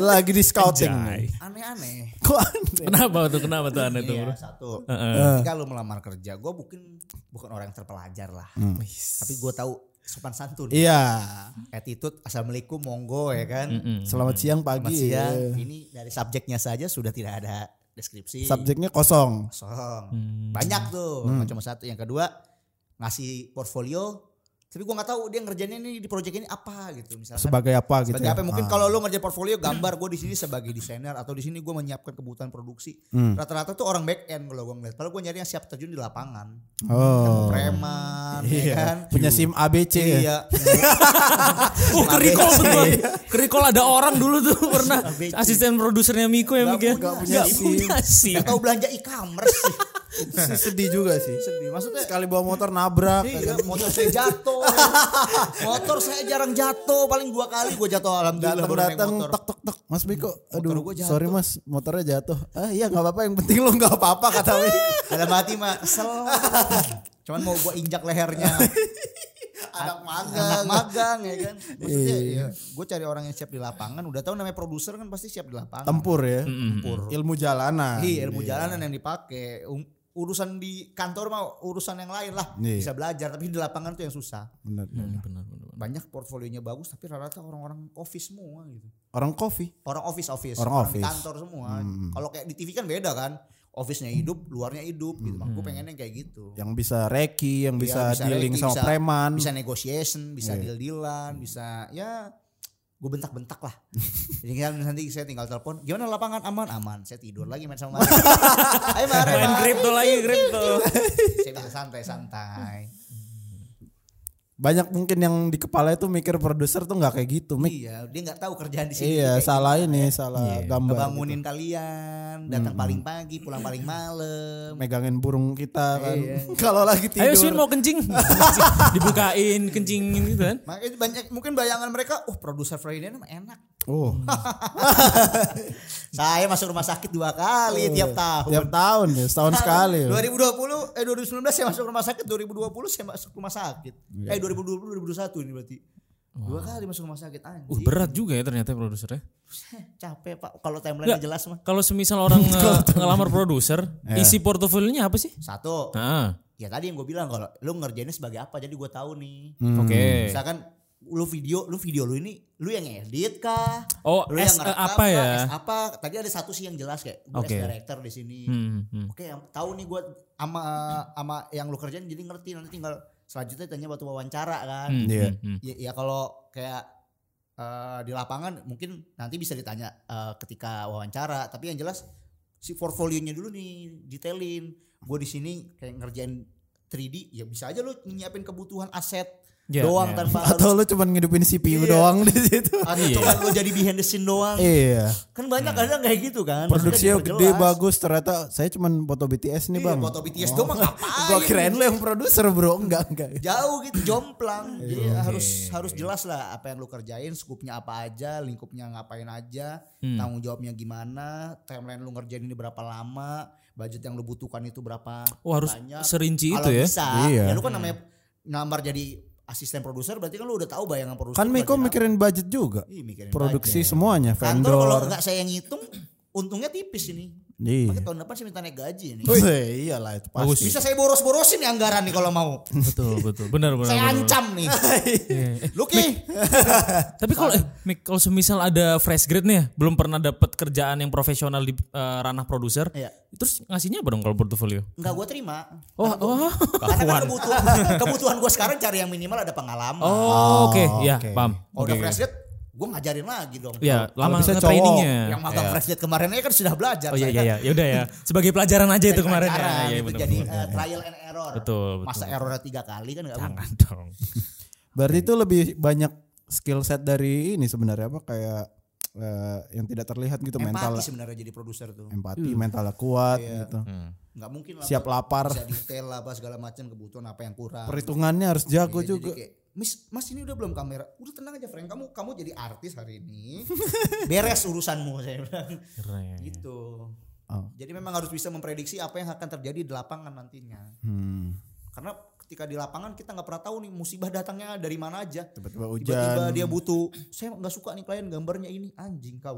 S1: lagi di scouting
S2: Anjay.
S1: nih.
S3: Aneh-aneh.
S1: kok aneh
S2: Kenapa tuh? Kenapa tuh aneh tuh?
S3: Iya
S2: bro?
S3: satu.
S2: Heeh.
S3: Ketika lu melamar kerja, gue bukan bukan orang yang terpelajar lah. Tapi gue tahu sopan santun.
S1: Hmm. iya
S3: Hmm. Attitude, assalamualaikum, monggo ya kan.
S1: selamat siang
S3: Selamat
S1: pagi
S3: siang. Ini dari subjeknya saja sudah tidak ada deskripsi.
S1: subjeknya kosong
S3: Kosong.
S2: Hmm.
S3: Banyak tuh. Bukan Cuma satu. Yang kedua ngasih portfolio. Tapi gue nggak tahu dia ngerjainnya ini di project ini apa gitu. Misalkan
S1: sebagai apa gitu
S3: sebagai
S1: ya?
S3: apa? Mungkin
S1: Ah.
S3: kalau lo ngerjain portfolio gambar, gue di sini sebagai desainer atau di sini gue menyiapkan kebutuhan produksi.
S1: Hmm.
S3: Rata-rata tuh orang back end kalau gue ngeliat. Padahal gue nyari yang siap terjun di lapangan.
S1: oh
S3: Preman, ya
S1: iya
S3: kan?
S1: punya sim ABC ya
S3: Iya.
S2: Oh kerikol betul. kerikol ada orang dulu tuh pernah
S3: Abc.
S2: asisten produsernya Miko yang
S3: Nggak
S2: bikin.
S3: punya
S2: Gak
S1: SIM.
S2: punya sih.
S3: Gak tahu belanja e-commerce sih.
S1: sedih juga sih
S3: Sedih. Maksudnya
S1: sekali bawa motor nabrak
S3: Iya, motor saya jatuh. motor saya jarang jatuh, paling dua kali gue jatuh alhamdulillah
S1: datang
S3: baru naik
S1: datang
S3: motor.
S1: tok tok tok mas Biko aduh
S3: gua jatuh.
S1: sorry mas motornya jatuh ah iya nggak apa-apa yang penting lu nggak apa-apa kata Biko
S3: Dalam hati mah kesel. Cuman mau gue injak lehernya. anak magang, anak magang ya kan. Maksudnya gue cari orang yang siap di lapangan. Udah tahu namanya produser kan pasti siap di lapangan.
S1: tempur ya
S3: Tempur.
S1: ilmu jalanan
S3: Iya, ilmu jalanan yang dipakai. Um- urusan di kantor mah urusan yang lain lah
S1: Iya.
S3: bisa belajar tapi di lapangan tuh yang susah
S1: Bener.
S3: banyak portfolionya bagus tapi rata-rata orang-orang office semua gitu
S1: orang kopi
S3: orang office office
S1: Orang
S3: di
S1: office.
S3: kantor semua kalau kayak di TV kan beda kan office-nya hidup luarnya hidup gitu Mak, gue pengen yang kayak gitu
S1: yang bisa reki yang bisa,
S3: Iya, bisa
S1: dealing
S3: reki,
S1: sama
S3: bisa-
S1: preman
S3: bisa negotiation bisa
S1: Iya.
S3: deal dealan bisa ya gue bentak-bentak lah jadi kan nanti saya tinggal telepon gimana lapangan aman aman saya tidur lagi main sama Mari ayo Mari
S2: Main
S3: Mari.
S2: kripto lagi kripto.
S3: saya bisa santai santai
S1: banyak mungkin yang di kepala itu mikir produser tuh nggak kayak gitu Mik.
S3: iya dia nggak tahu kerjaan di
S1: iya
S3: sini tuh kayak gitu.
S1: salah ini salah gambar gitu.
S3: ngebangunin kalian datang paling pagi pulang paling malam
S1: megangin burung kita kan
S3: Iya.
S1: kalau lagi
S2: Ayo
S1: tidur
S2: Swin mau kencing. Dibukain kencingin gitu kan.
S3: Makanya banyak mungkin bayangan mereka, oh produser Friday mah enak.
S1: oh
S3: Saya masuk rumah sakit dua kali tiap tahun.
S1: Oh, tiap tahun ya setahun
S2: Iya.
S1: sekali ya.
S3: 2020 eh 2019 saya masuk rumah sakit, 2020 saya masuk rumah sakit.
S2: Iya.
S3: Eh 2020 2021 ini berarti. Dua kali masuk rumah sakit anjing.
S2: Uh, berat juga ya ternyata produsernya.
S3: Capek Pak kalau timeline jelas mah.
S2: Kalau Iya. semisal orang nge- ngelamar produser, isi portofolionya apa sih?
S3: Satu,
S2: Nah,
S3: ya tadi yang gue bilang kalau lu ngerjainnya sebagai apa jadi gue tahu nih.
S2: Hmm. oke.
S3: Misalkan lu video, lu video lu ini lu yang edit kah?
S2: Oh,
S3: lu
S2: as a apa
S3: kah?
S2: ya?
S3: As apa? Tadi ada satu sih yang jelas kayak gue
S2: Oke.
S3: as director di sini.
S2: Hmm, hmm.
S3: Oke, yang tahu nih gue ama ama yang lu kerjain jadi ngerti nanti tinggal selanjutnya tanya waktu wawancara kan.
S2: Hmm,
S1: Iya.
S2: hmm, hmm.
S3: Ya, ya kalau kayak eh, di lapangan mungkin nanti bisa ditanya eh, ketika wawancara, tapi yang jelas si portfolionya dulu nih detailin. Gue di sini kayak ngerjain 3D, ya bisa aja lu nyiapin kebutuhan aset
S2: Iya,
S3: doang
S2: iya.
S3: tanpa harus
S1: Ya, atau lu cuman ngidupin CPU
S3: Iya.
S1: doang di situ
S3: atau cuma lu jadi behind the scene doang.
S1: iya
S3: Kan banyak kadang kayak gitu kan.
S1: produksinya
S3: Maksudnya
S1: gede
S3: diperjelas.
S1: bagus ternyata saya cuman foto BTS nih
S3: Iya,
S1: bang Oh.
S3: foto BTS doang ngapain?
S1: gua kirain lu yang produser bro enggak enggak
S3: jauh gitu jomplang jadi harus harus jelas lah apa yang lu kerjain skupnya apa aja lingkupnya ngapain aja tanggung jawabnya gimana timeline lu ngerjain ini berapa lama budget yang lu butuhkan itu berapa
S2: Oh, harus
S3: banyak.
S2: serinci
S3: Kalau
S2: itu ya?
S3: bisa
S1: Iya.
S3: ya lu kan namanya nambar jadi asisten produser berarti kan lu udah tahu bayangan produser
S1: kan Miko
S3: kerjain apa.
S1: mikirin budget juga
S3: Ih, Iya. mikirin
S1: produksi
S3: budget.
S1: semuanya
S3: kantor kalau
S1: vendor
S3: nggak saya yang ngitung untungnya tipis ini
S1: iya
S3: Makanya tahun depan saya minta naik gaji ini
S1: Wih, iyalah itu pasti.
S3: bisa saya boros-borosin nih anggaran nih kalau mau
S2: Betul, betul. Benar, benar.
S3: saya
S2: benar.
S3: ancam nih Lucky
S2: Tapi kalau eh Mik, kalau semisal ada fresh grade nih, ya, belum pernah dapat kerjaan yang profesional di eh, ranah produser,
S3: Iya.
S2: terus ngasihnya apa dong kalau portofolio?
S3: Enggak gue terima.
S2: Oh, oh,
S3: Karena kan kebutuhan, kebutuhan gue sekarang cari yang minimal ada pengalaman.
S2: oh, oke, ya
S1: oke.
S2: paham.
S3: Kalau udah
S2: Oke.
S3: fresh grade, gue ngajarin lagi dong.
S2: Ya, lama
S1: bisa cowok.
S2: trainingnya.
S3: Yang magang fresh grade kemarin aja kan sudah belajar.
S2: iya. Oh iya
S3: saya
S2: iya
S3: kan
S2: iya, ya udah ya. Sebagai pelajaran aja itu kemarin ya.
S3: pelajaran,
S2: Iya,
S3: gitu.
S2: benar,
S3: jadi
S2: benar.
S3: eh, trial and error.
S2: Betul, betul.
S3: Masa errornya tiga kali kan nggak mungkin.
S2: Jangan dong.
S1: Berarti itu lebih banyak skill set dari ini sebenarnya apa kayak eh, yang tidak terlihat gitu mental
S3: Empati Hmm. Iya. sebenarnya jadi produser tuh.
S1: empati, mentalnya kuat gitu.
S3: Hmm. Nggak mungkin lah.
S1: Siap lapar.
S3: Bisa detail lah apa segala macam kebutuhan apa yang kurang.
S1: Perhitungannya harus jago
S3: Iya, jadi
S1: juga.
S3: kayak, Miss, mas ini udah belum kamera. Udah tenang aja Frank, kamu kamu jadi artis hari ini. Beres urusanmu saya bilang.
S2: Keren.
S3: Gitu.
S1: Oh.
S3: Jadi memang harus bisa memprediksi apa yang akan terjadi di lapangan nantinya.
S1: Hmm.
S3: Karena ketika di lapangan kita nggak pernah tahu nih musibah datangnya dari mana aja.
S1: Tiba-tiba hujan.
S3: Tiba-tiba dia butuh, saya nggak suka nih klien gambarnya ini anjing kau.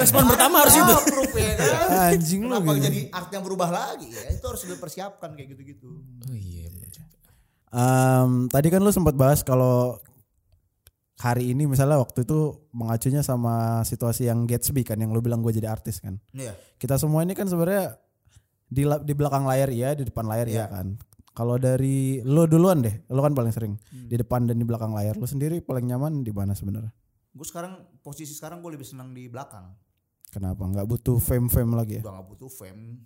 S2: Respon pertama harus itu.
S3: Approve, ya kan?
S1: Anjing lu
S3: Kenapa
S1: gitu.
S3: jadi art yang berubah lagi ya? Itu harus dipersiapkan kayak gitu-gitu.
S2: Oh
S1: Hmm.
S2: iya.
S1: Em, tadi kan lu sempat bahas kalau hari ini misalnya waktu itu mengacunya sama situasi yang Gatsby kan yang lu bilang gue jadi artis kan.
S3: Iya.
S1: Kita semua ini kan sebenarnya di la- di belakang layar ya, di depan layar ya
S3: Iya.
S1: kan. Kalau dari lu duluan deh, lu kan paling sering
S3: Hmm.
S1: di depan dan di belakang layar. Lu sendiri paling nyaman di mana sebenarnya?
S3: Gue sekarang posisi sekarang gue lebih senang di belakang.
S1: Kenapa nggak butuh fame-fame lagi ya?
S3: Udah nggak butuh fame.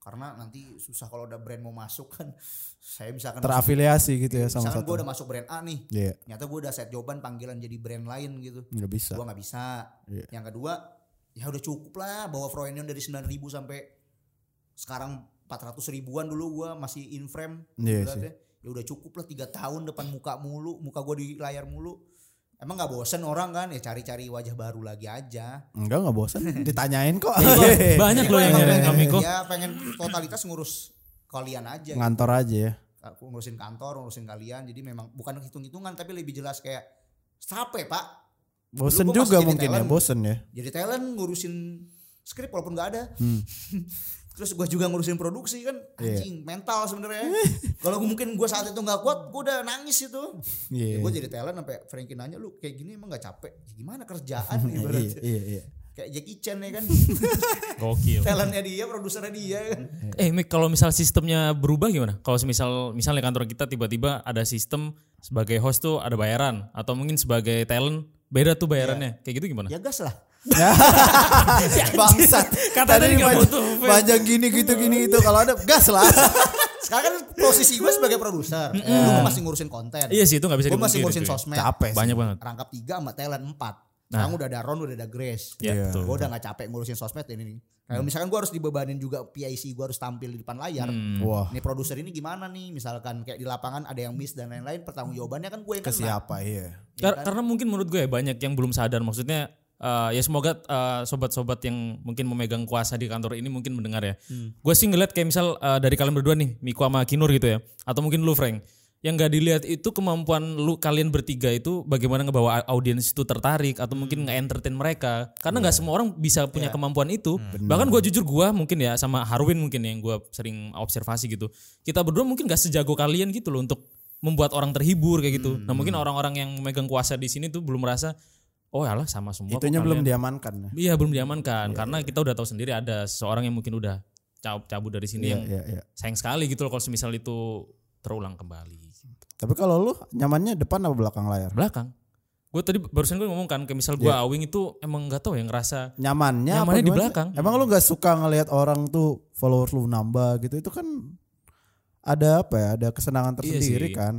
S3: Karena nanti susah kalau udah brand mau masuk kan. Saya misalkan
S1: Terafiliasi gitu ya sama
S3: Iya, misalkan gue
S1: satu.
S3: udah masuk brand A nih.
S1: Iya,
S3: Nyata gue udah set jawaban panggilan jadi brand lain gitu.
S1: nggak bisa.
S3: Gue nggak bisa.
S1: Iya.
S3: Yang kedua ya udah cukup lah bawa Froenion dari 9000 sampai sekarang 400 ribuan dulu gue masih in frame
S1: Iya
S3: Berat
S1: sih.
S3: ya. Ya udah cukup lah tiga tahun depan muka mulu, muka gue di layar mulu. Emang nggak bosen orang kan ya cari-cari wajah baru lagi aja.
S1: Enggak, nggak bosan. Ditanyain kok. Iya,
S2: Banyak
S3: Jadi
S2: loh
S3: gua
S2: yang
S3: emang
S2: nyariin
S3: pengen-
S2: Amiko.
S3: Ya pengen totalitas ngurus kalian
S2: Iya.
S3: aja. gitu.
S1: Ngantor aja ya.
S3: Aku ngurusin kantor, ngurusin kalian. Jadi memang bukan hitung-hitungan tapi lebih jelas kayak capek pak.
S1: Bosen
S3: Dulu
S1: juga
S3: gua masih jadi
S1: mungkin ya,
S3: talent.
S1: bosen ya.
S3: Jadi talent ngurusin skrip walaupun nggak ada.
S1: Hmm.
S3: Terus gue juga ngurusin produksi kan
S1: Iya.
S3: anjing mental sebenarnya. Kalau mungkin gue saat itu nggak kuat, gue udah nangis itu.
S1: Iya.
S3: gue jadi talent sampai Frankie nanya lu kayak gini emang gak capek Ya gimana kerjaan
S1: Iya,
S3: ibaratnya
S1: iya, iya.
S3: kayak Jackie Chan ya kan
S2: Gokil.
S3: talentnya dia produsernya dia ya kan
S2: Eh Mik, kalau misal sistemnya berubah gimana? Kalau misal misalnya kantor kita tiba-tiba ada sistem sebagai host tuh ada bayaran atau mungkin sebagai talent beda tuh bayarannya. Kayak gitu gimana?
S3: ya gas lah
S1: Bangsat.
S2: Kata tadi nggak
S1: panjang-
S2: butuh fame.
S1: Panjang gini gitu gini itu kalau ada gas lah.
S3: sekarang kan posisi gue sebagai produser lu masih ngurusin konten
S2: Iya sih itu nggak bisa
S3: gue masih
S2: dipungkiri,
S3: ngurusin
S2: cuy.
S3: sosmed
S1: Capek.
S2: Banyak banget.
S3: rangkap tiga sama talent empat sekarang udah ada Ron udah ada Grace
S2: Ya,
S1: Iya.
S2: Nah. betul. Hmm.
S3: gue udah gak capek ngurusin sosmed ini nih kalau misalkan gue harus dibebanin juga PIC gue harus tampil di depan layar
S2: Hmm.
S1: Wah,
S3: Nih produser ini gimana nih misalkan kayak di lapangan ada yang miss dan lain-lain pertanggung jawabannya kan gue yang
S1: ke
S3: kena
S1: siapa iya.
S2: Kar-
S3: kan?
S2: Karena mungkin menurut gue ya banyak yang belum sadar maksudnya eh, ya semoga eh, sobat-sobat yang mungkin memegang kuasa di kantor ini mungkin mendengar ya. Gue sih ngeliat kayak misal eh, dari kalian berdua nih Miko sama Kinur gitu ya atau mungkin lu Frank yang gak dilihat itu kemampuan lu kalian bertiga itu bagaimana ngebawa au- audiens itu tertarik atau mungkin nge-entertain mereka karena nggak semua orang bisa punya kemampuan itu bahkan gue jujur gue mungkin ya sama Harwin mungkin yang gue sering observasi gitu kita berdua mungkin gak sejago kalian gitu loh untuk membuat orang terhibur kayak gitu. Nah mungkin orang-orang yang memegang kuasa di sini tuh belum merasa, oh alah sama semua. kok
S1: Itunya belum
S2: kalian."
S1: diamankan ya.
S2: Iya belum diamankan karena kita udah tahu sendiri ada seorang yang mungkin udah cabut cabut dari sini yang
S1: Iya, iya.
S2: sayang sekali gitu loh kalau semisal itu terulang kembali.
S1: Tapi kalau lu nyamannya depan apa belakang layar?
S2: Belakang, gue tadi barusan gue ngomong kan, kayak misal gue awing itu emang nggak tahu ya ngerasa
S1: Nyamannya apa
S2: Nyamannya di
S1: gimana?
S2: belakang.
S1: Emang lu nggak suka ngelihat orang tuh followers lu nambah gitu? Itu kan ada apa ya? Ada kesenangan
S2: Iya
S1: tersendiri
S2: sih.
S1: kan.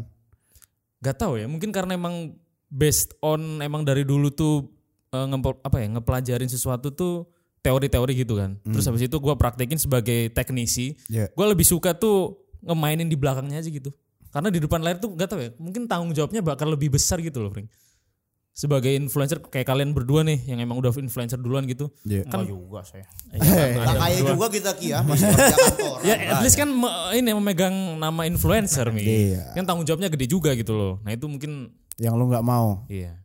S2: nggak tahu ya mungkin karena emang based on emang dari dulu tuh eh, ngempo- apa ya ngepelajarin sesuatu tuh teori-teori gitu kan terus habis itu gua praktekin sebagai teknisi
S1: Iya.
S2: gua lebih suka tuh ngemainin di belakangnya aja gitu karena di depan layar tuh nggak tahu ya mungkin tanggung jawabnya bakal lebih besar gitu loh Pring sebagai influencer kayak kalian berdua nih yang emang udah influencer duluan gitu
S1: Iya.
S5: Kan
S3: Nggak juga saya
S2: Iya,
S3: Nah,
S2: ada
S3: kayak
S2: berdua.
S3: juga kita Ki ya masih kerja kantor.
S2: Ya, at least kan me- ini memegang nama influencer nih.
S1: Iya.
S2: Kan tanggung jawabnya gede juga gitu loh. Nah, itu mungkin
S1: Yang lu nggak mau.
S2: Iya.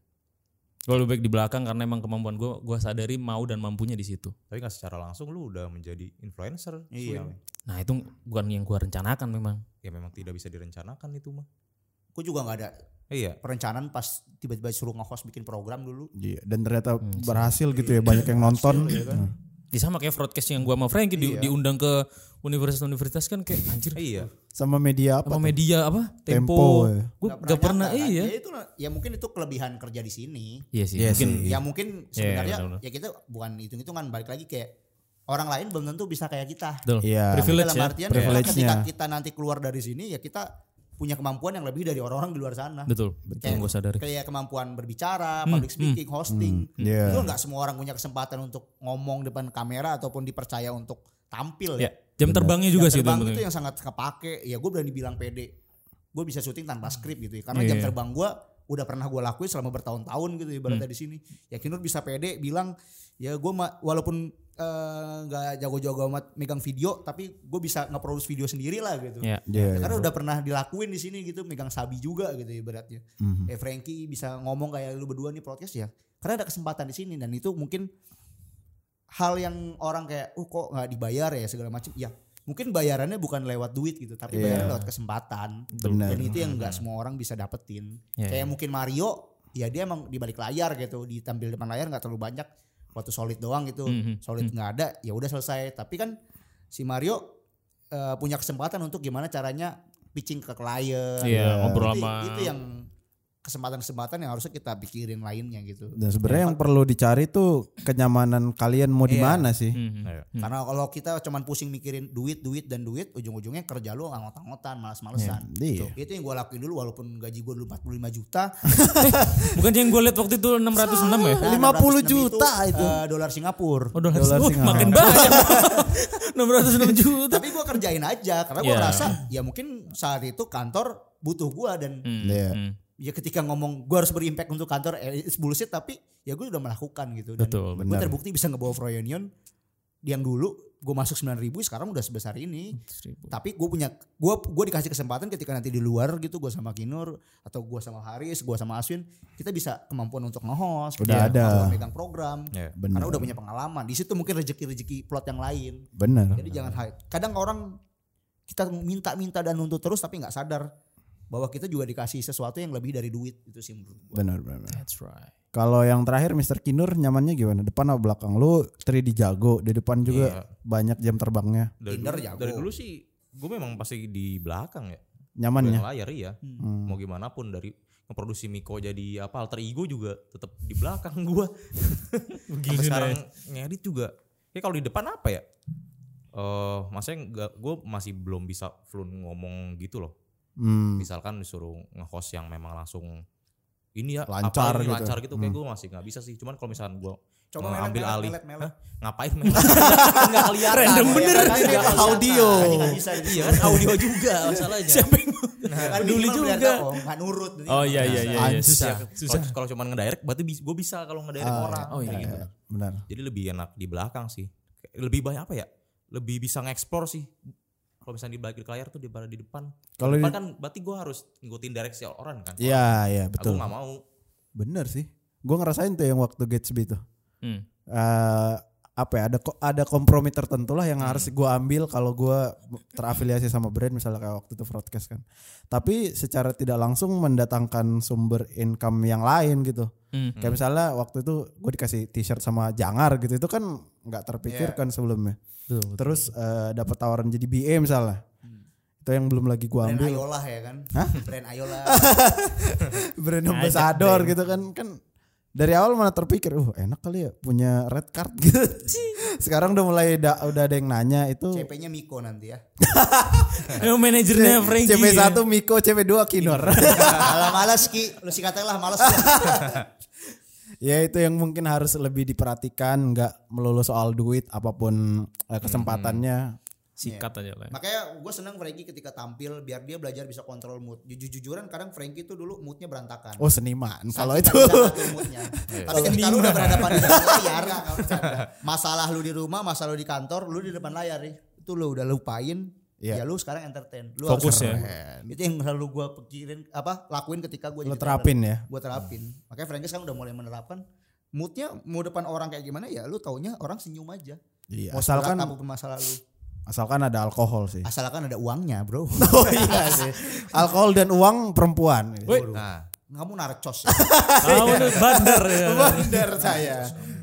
S2: Gue lebih baik di belakang karena emang kemampuan gue, gue sadari mau dan mampunya di situ.
S5: Tapi nggak secara langsung lu udah menjadi influencer.
S3: Iya.
S5: Swing.
S2: Nah itu bukan yang gue rencanakan memang.
S5: Ya memang tidak bisa direncanakan itu mah.
S3: Gue juga nggak ada
S5: Iya.
S3: perencanaan pas tiba-tiba suruh nge-host bikin program dulu.
S1: Iya, dan ternyata berhasil gitu ya banyak yang nonton. Nah.
S2: Ya sama kayak broadcast yang gue sama Frankie di-
S3: Iya.
S2: diundang ke universitas-universitas kan kayak anjir.
S5: Iya.
S1: Sama media apa?
S2: Sama media apa? Tempo.
S1: Tempo, ya.
S2: Gue gak pernah,
S3: nyangka, kan?
S2: iya.
S3: Ya itu lah. ya mungkin itu kelebihan kerja di sini.
S2: Iya sih.
S1: Iya
S2: mungkin
S1: sih.
S3: Ya mungkin sebenarnya
S2: benar-benar.
S3: ya kita bukan hitung-hitungan balik lagi kayak orang lain belum tentu bisa kayak kita.
S2: betul.
S1: Iya.
S2: Privilege
S3: Dalam
S2: ya.
S3: artian
S1: Iya.
S3: kita ketika
S1: Privilege-nya.
S3: kita nanti keluar dari sini ya kita punya kemampuan yang lebih dari orang-orang di luar sana.
S2: Betul. Betul.
S3: Kayak,
S2: Gue sadari. Hmm,
S3: kayak kemampuan berbicara, public speaking, hosting.
S1: Iya.
S3: Itu nggak semua orang punya kesempatan untuk ngomong depan kamera ataupun dipercaya untuk tampil
S2: Ya. Jam terbangnya juga
S3: jam
S2: sih itu
S3: terbang
S2: yang
S3: itu
S2: penting.
S3: yang sangat kepake ya gue berani bilang pede gue bisa syuting tanpa skrip gitu ya karena jam
S2: Iya.
S3: terbang gue udah pernah gue
S2: Hmm.
S3: lakuin selama bertahun-tahun gitu ibaratnya di sini ya Kinur bisa pede bilang ya gue walaupun eh, nggak jago-jago amat megang video tapi gue bisa nge-produce video sendiri lah gitu
S2: Iya.
S1: Iya,
S3: Ya,
S1: iya.
S3: karena udah pernah dilakuin di sini gitu megang sabi juga gitu ibaratnya
S1: Mhm.
S3: eh Frankie bisa ngomong kayak lu berdua nih podcast ya karena ada kesempatan di sini dan itu mungkin hal yang orang kayak oh kok nggak dibayar ya segala macam ya mungkin bayarannya bukan lewat duit gitu tapi
S1: Iya.
S3: bayaran lewat kesempatan
S1: Benar.
S3: dan itu yang nggak semua orang bisa dapetin
S2: Iya,
S3: kayak mungkin Mario ya dia emang di balik layar gitu ditampil depan layar nggak terlalu banyak waktu solid doang gitu
S2: Mhm.
S3: solid nggak ada ya udah selesai tapi kan si Mario eh, punya kesempatan untuk gimana caranya pitching ke klien
S2: Iya, ngobrol
S3: itu,
S2: sama-
S3: itu yang kesempatan-kesempatan yang harusnya kita pikirin lainnya gitu
S1: Dan sebenarnya yang perlu dicari tuh kenyamanan kalian mau di
S3: Iya.
S1: mana sih?
S2: Mhm.
S1: Hmm.
S3: karena kalau kita cuman pusing mikirin duit duit dan duit ujung-ujungnya kerja lu ngot-ngotan malas-malesan
S1: Iya.
S3: itu yang gue lakuin dulu walaupun gaji gue dulu 45 juta
S2: Bukan yang gue lihat waktu itu 606 ya?
S3: Nah,
S1: 50
S3: 606
S1: juta itu.
S3: eh, dolar Singapura.
S2: Oh dolar,
S1: Dolar
S2: Wah,
S1: Singapura.
S2: makin banyak. 606 juta.
S3: Tapi gue kerjain aja karena gue
S2: Iya.
S3: ngerasa ya mungkin saat itu kantor butuh gue dan
S2: Hmm,
S1: Iya.
S2: hmm.
S3: ya ketika ngomong gue harus berimpact untuk kantor eh, it's bullshit tapi ya gue udah melakukan gitu dan
S2: Betul.
S1: benar.
S3: gue terbukti bisa ngebawa Froyonion yang dulu gue masuk 9000 sekarang udah sebesar ini tapi gue punya gue gue dikasih kesempatan ketika nanti di luar gitu gue sama Kinur atau gue sama Haris gue sama Aswin kita bisa kemampuan untuk nge-host
S1: Udah
S3: kita
S1: ada.
S3: kemampuan megang program
S5: Iya.
S1: Benar.
S3: karena udah punya pengalaman di situ mungkin rezeki-rezeki plot yang lain
S1: Benar.
S3: jadi jangan hide kadang orang kita minta-minta dan nuntut terus tapi nggak sadar bahwa kita juga dikasih sesuatu yang lebih dari duit itu sih menurut gue
S1: Benar, benar. benar.
S2: That's right.
S1: Kalau yang terakhir Mr. Kinur nyamannya gimana? Depan apa belakang? Lu 3D jago, di depan
S5: Iya.
S1: juga banyak jam terbangnya.
S5: Dari,
S3: Tinder
S5: dulu,
S3: jago.
S5: dari dulu sih gue memang pasti di belakang ya.
S1: Nyamannya.
S5: Yang layar iya.
S3: Hmm.
S5: Mau gimana pun dari ngeproduksi Miko jadi apa alter ego juga tetap di belakang gua. Sampai sekarang ngedit juga. Ya kalau di depan apa ya? Eh, maksudnya nggak, gue masih belum bisa fluent ngomong gitu loh.
S1: Hmm.
S5: Misalkan disuruh nge-host yang memang langsung ini ya
S1: Lancar
S5: apa ini
S1: gitu.
S5: lancar gitu kayak gue masih nggak bisa sih. Cuman kalau misalkan gue
S3: Coba melet,
S5: ngambil
S3: melet,
S5: alih,
S3: melet, melet.
S5: Hah? ngapain? Enggak kelihatan.
S2: Random bener.
S5: Nggak
S3: Nggak
S5: kelihatan.
S3: audio. Nah,
S5: Nggak bisa. Iya kan audio juga masalahnya.
S3: Kan
S2: Peduli
S3: minimal
S2: juga.
S3: berdatang, oh, nggak nurut
S2: Oh iya iya iya.
S5: Ah,
S2: iya. Susah. Susah.
S5: Kalau- Kalau cuman ngedirect berarti gue bisa kalau ngedirect orang.
S2: Oh iya.
S5: Kayak gitu.
S1: Ah, Benar.
S5: Jadi lebih enak di belakang sih. Lebih banyak apa ya? Lebih bisa nge-explore sih. Kalau misalnya di balik di layar tuh daripada di depan.
S1: Kalau
S5: Di depan
S1: di-
S5: kan berarti gue harus ngikutin direksi orang kan.
S1: Iya, iya,
S5: Aku
S1: betul.
S5: nggak mau.
S1: Bener sih. Gua ngerasain tuh yang waktu Gatsby tuh.
S2: Hmm.
S1: eh apa ya ada ko- ada kompromi tertentu lah yang
S2: Hmm.
S1: harus gua ambil kalau gua terafiliasi sama brand misalnya kayak waktu itu broadcast kan tapi secara tidak langsung mendatangkan sumber income yang lain gitu
S2: Hmm.
S1: kayak misalnya waktu itu gue dikasih t-shirt sama jangar gitu itu kan nggak
S2: Iya.
S1: terpikirkan sebelumnya terus eh, dapat tawaran jadi BA misalnya
S2: Hmm.
S1: itu yang belum lagi gua
S3: brand
S1: ambil
S3: Ayola ya kan brand Ayola
S1: brand ambassador gitu kan kan dari awal mana terpikir uh enak kali ya punya red card gitu sekarang udah mulai da- udah ada yang nanya itu
S3: CP-nya Miko nanti ya
S2: Eh, manajernya Frankie.
S1: CP1 Miko CP2 Kinor
S3: malah malas ki lu sih katakanlah malas
S1: ya itu yang mungkin harus lebih diperhatikan nggak melulu soal duit apapun eh, kesempatannya
S2: Sikat aja lah.
S3: makanya gue senang Frankie ketika tampil biar dia belajar bisa kontrol mood jujur jujuran kadang Frankie tuh dulu moodnya berantakan
S1: oh seniman kalau
S3: Saking
S1: itu
S3: nggak bisa ngatur moodnya.
S1: Iya.
S3: Tapi ketika lu udah berhadapan di depan layar, masalah lu di rumah, masalah lu di kantor, lu di depan layar nih. Itu lu udah lupain,
S1: Iya.
S3: ya lu sekarang entertain. Lu
S2: Fokus
S3: harus-
S2: ya.
S3: Itu yang selalu gua pikirin apa lakuin ketika gua
S1: Lu
S3: jadi
S1: terapin ya?
S3: Gua terapin. Makanya Frankie sekarang udah mulai menerapkan moodnya mau depan orang kayak gimana ya lu taunya orang senyum aja.
S1: Iya,
S3: Mau
S1: asalkan-
S3: seberat apapun masalah lu.
S1: asalkan ada alkohol sih
S3: Asalkan ada uangnya, Bro.
S1: oh iya sih alkohol dan uang perempuan
S2: Woi.
S5: Nah,
S3: Kamu narcos.
S2: Kamu tuh bandar ya.
S1: bener saya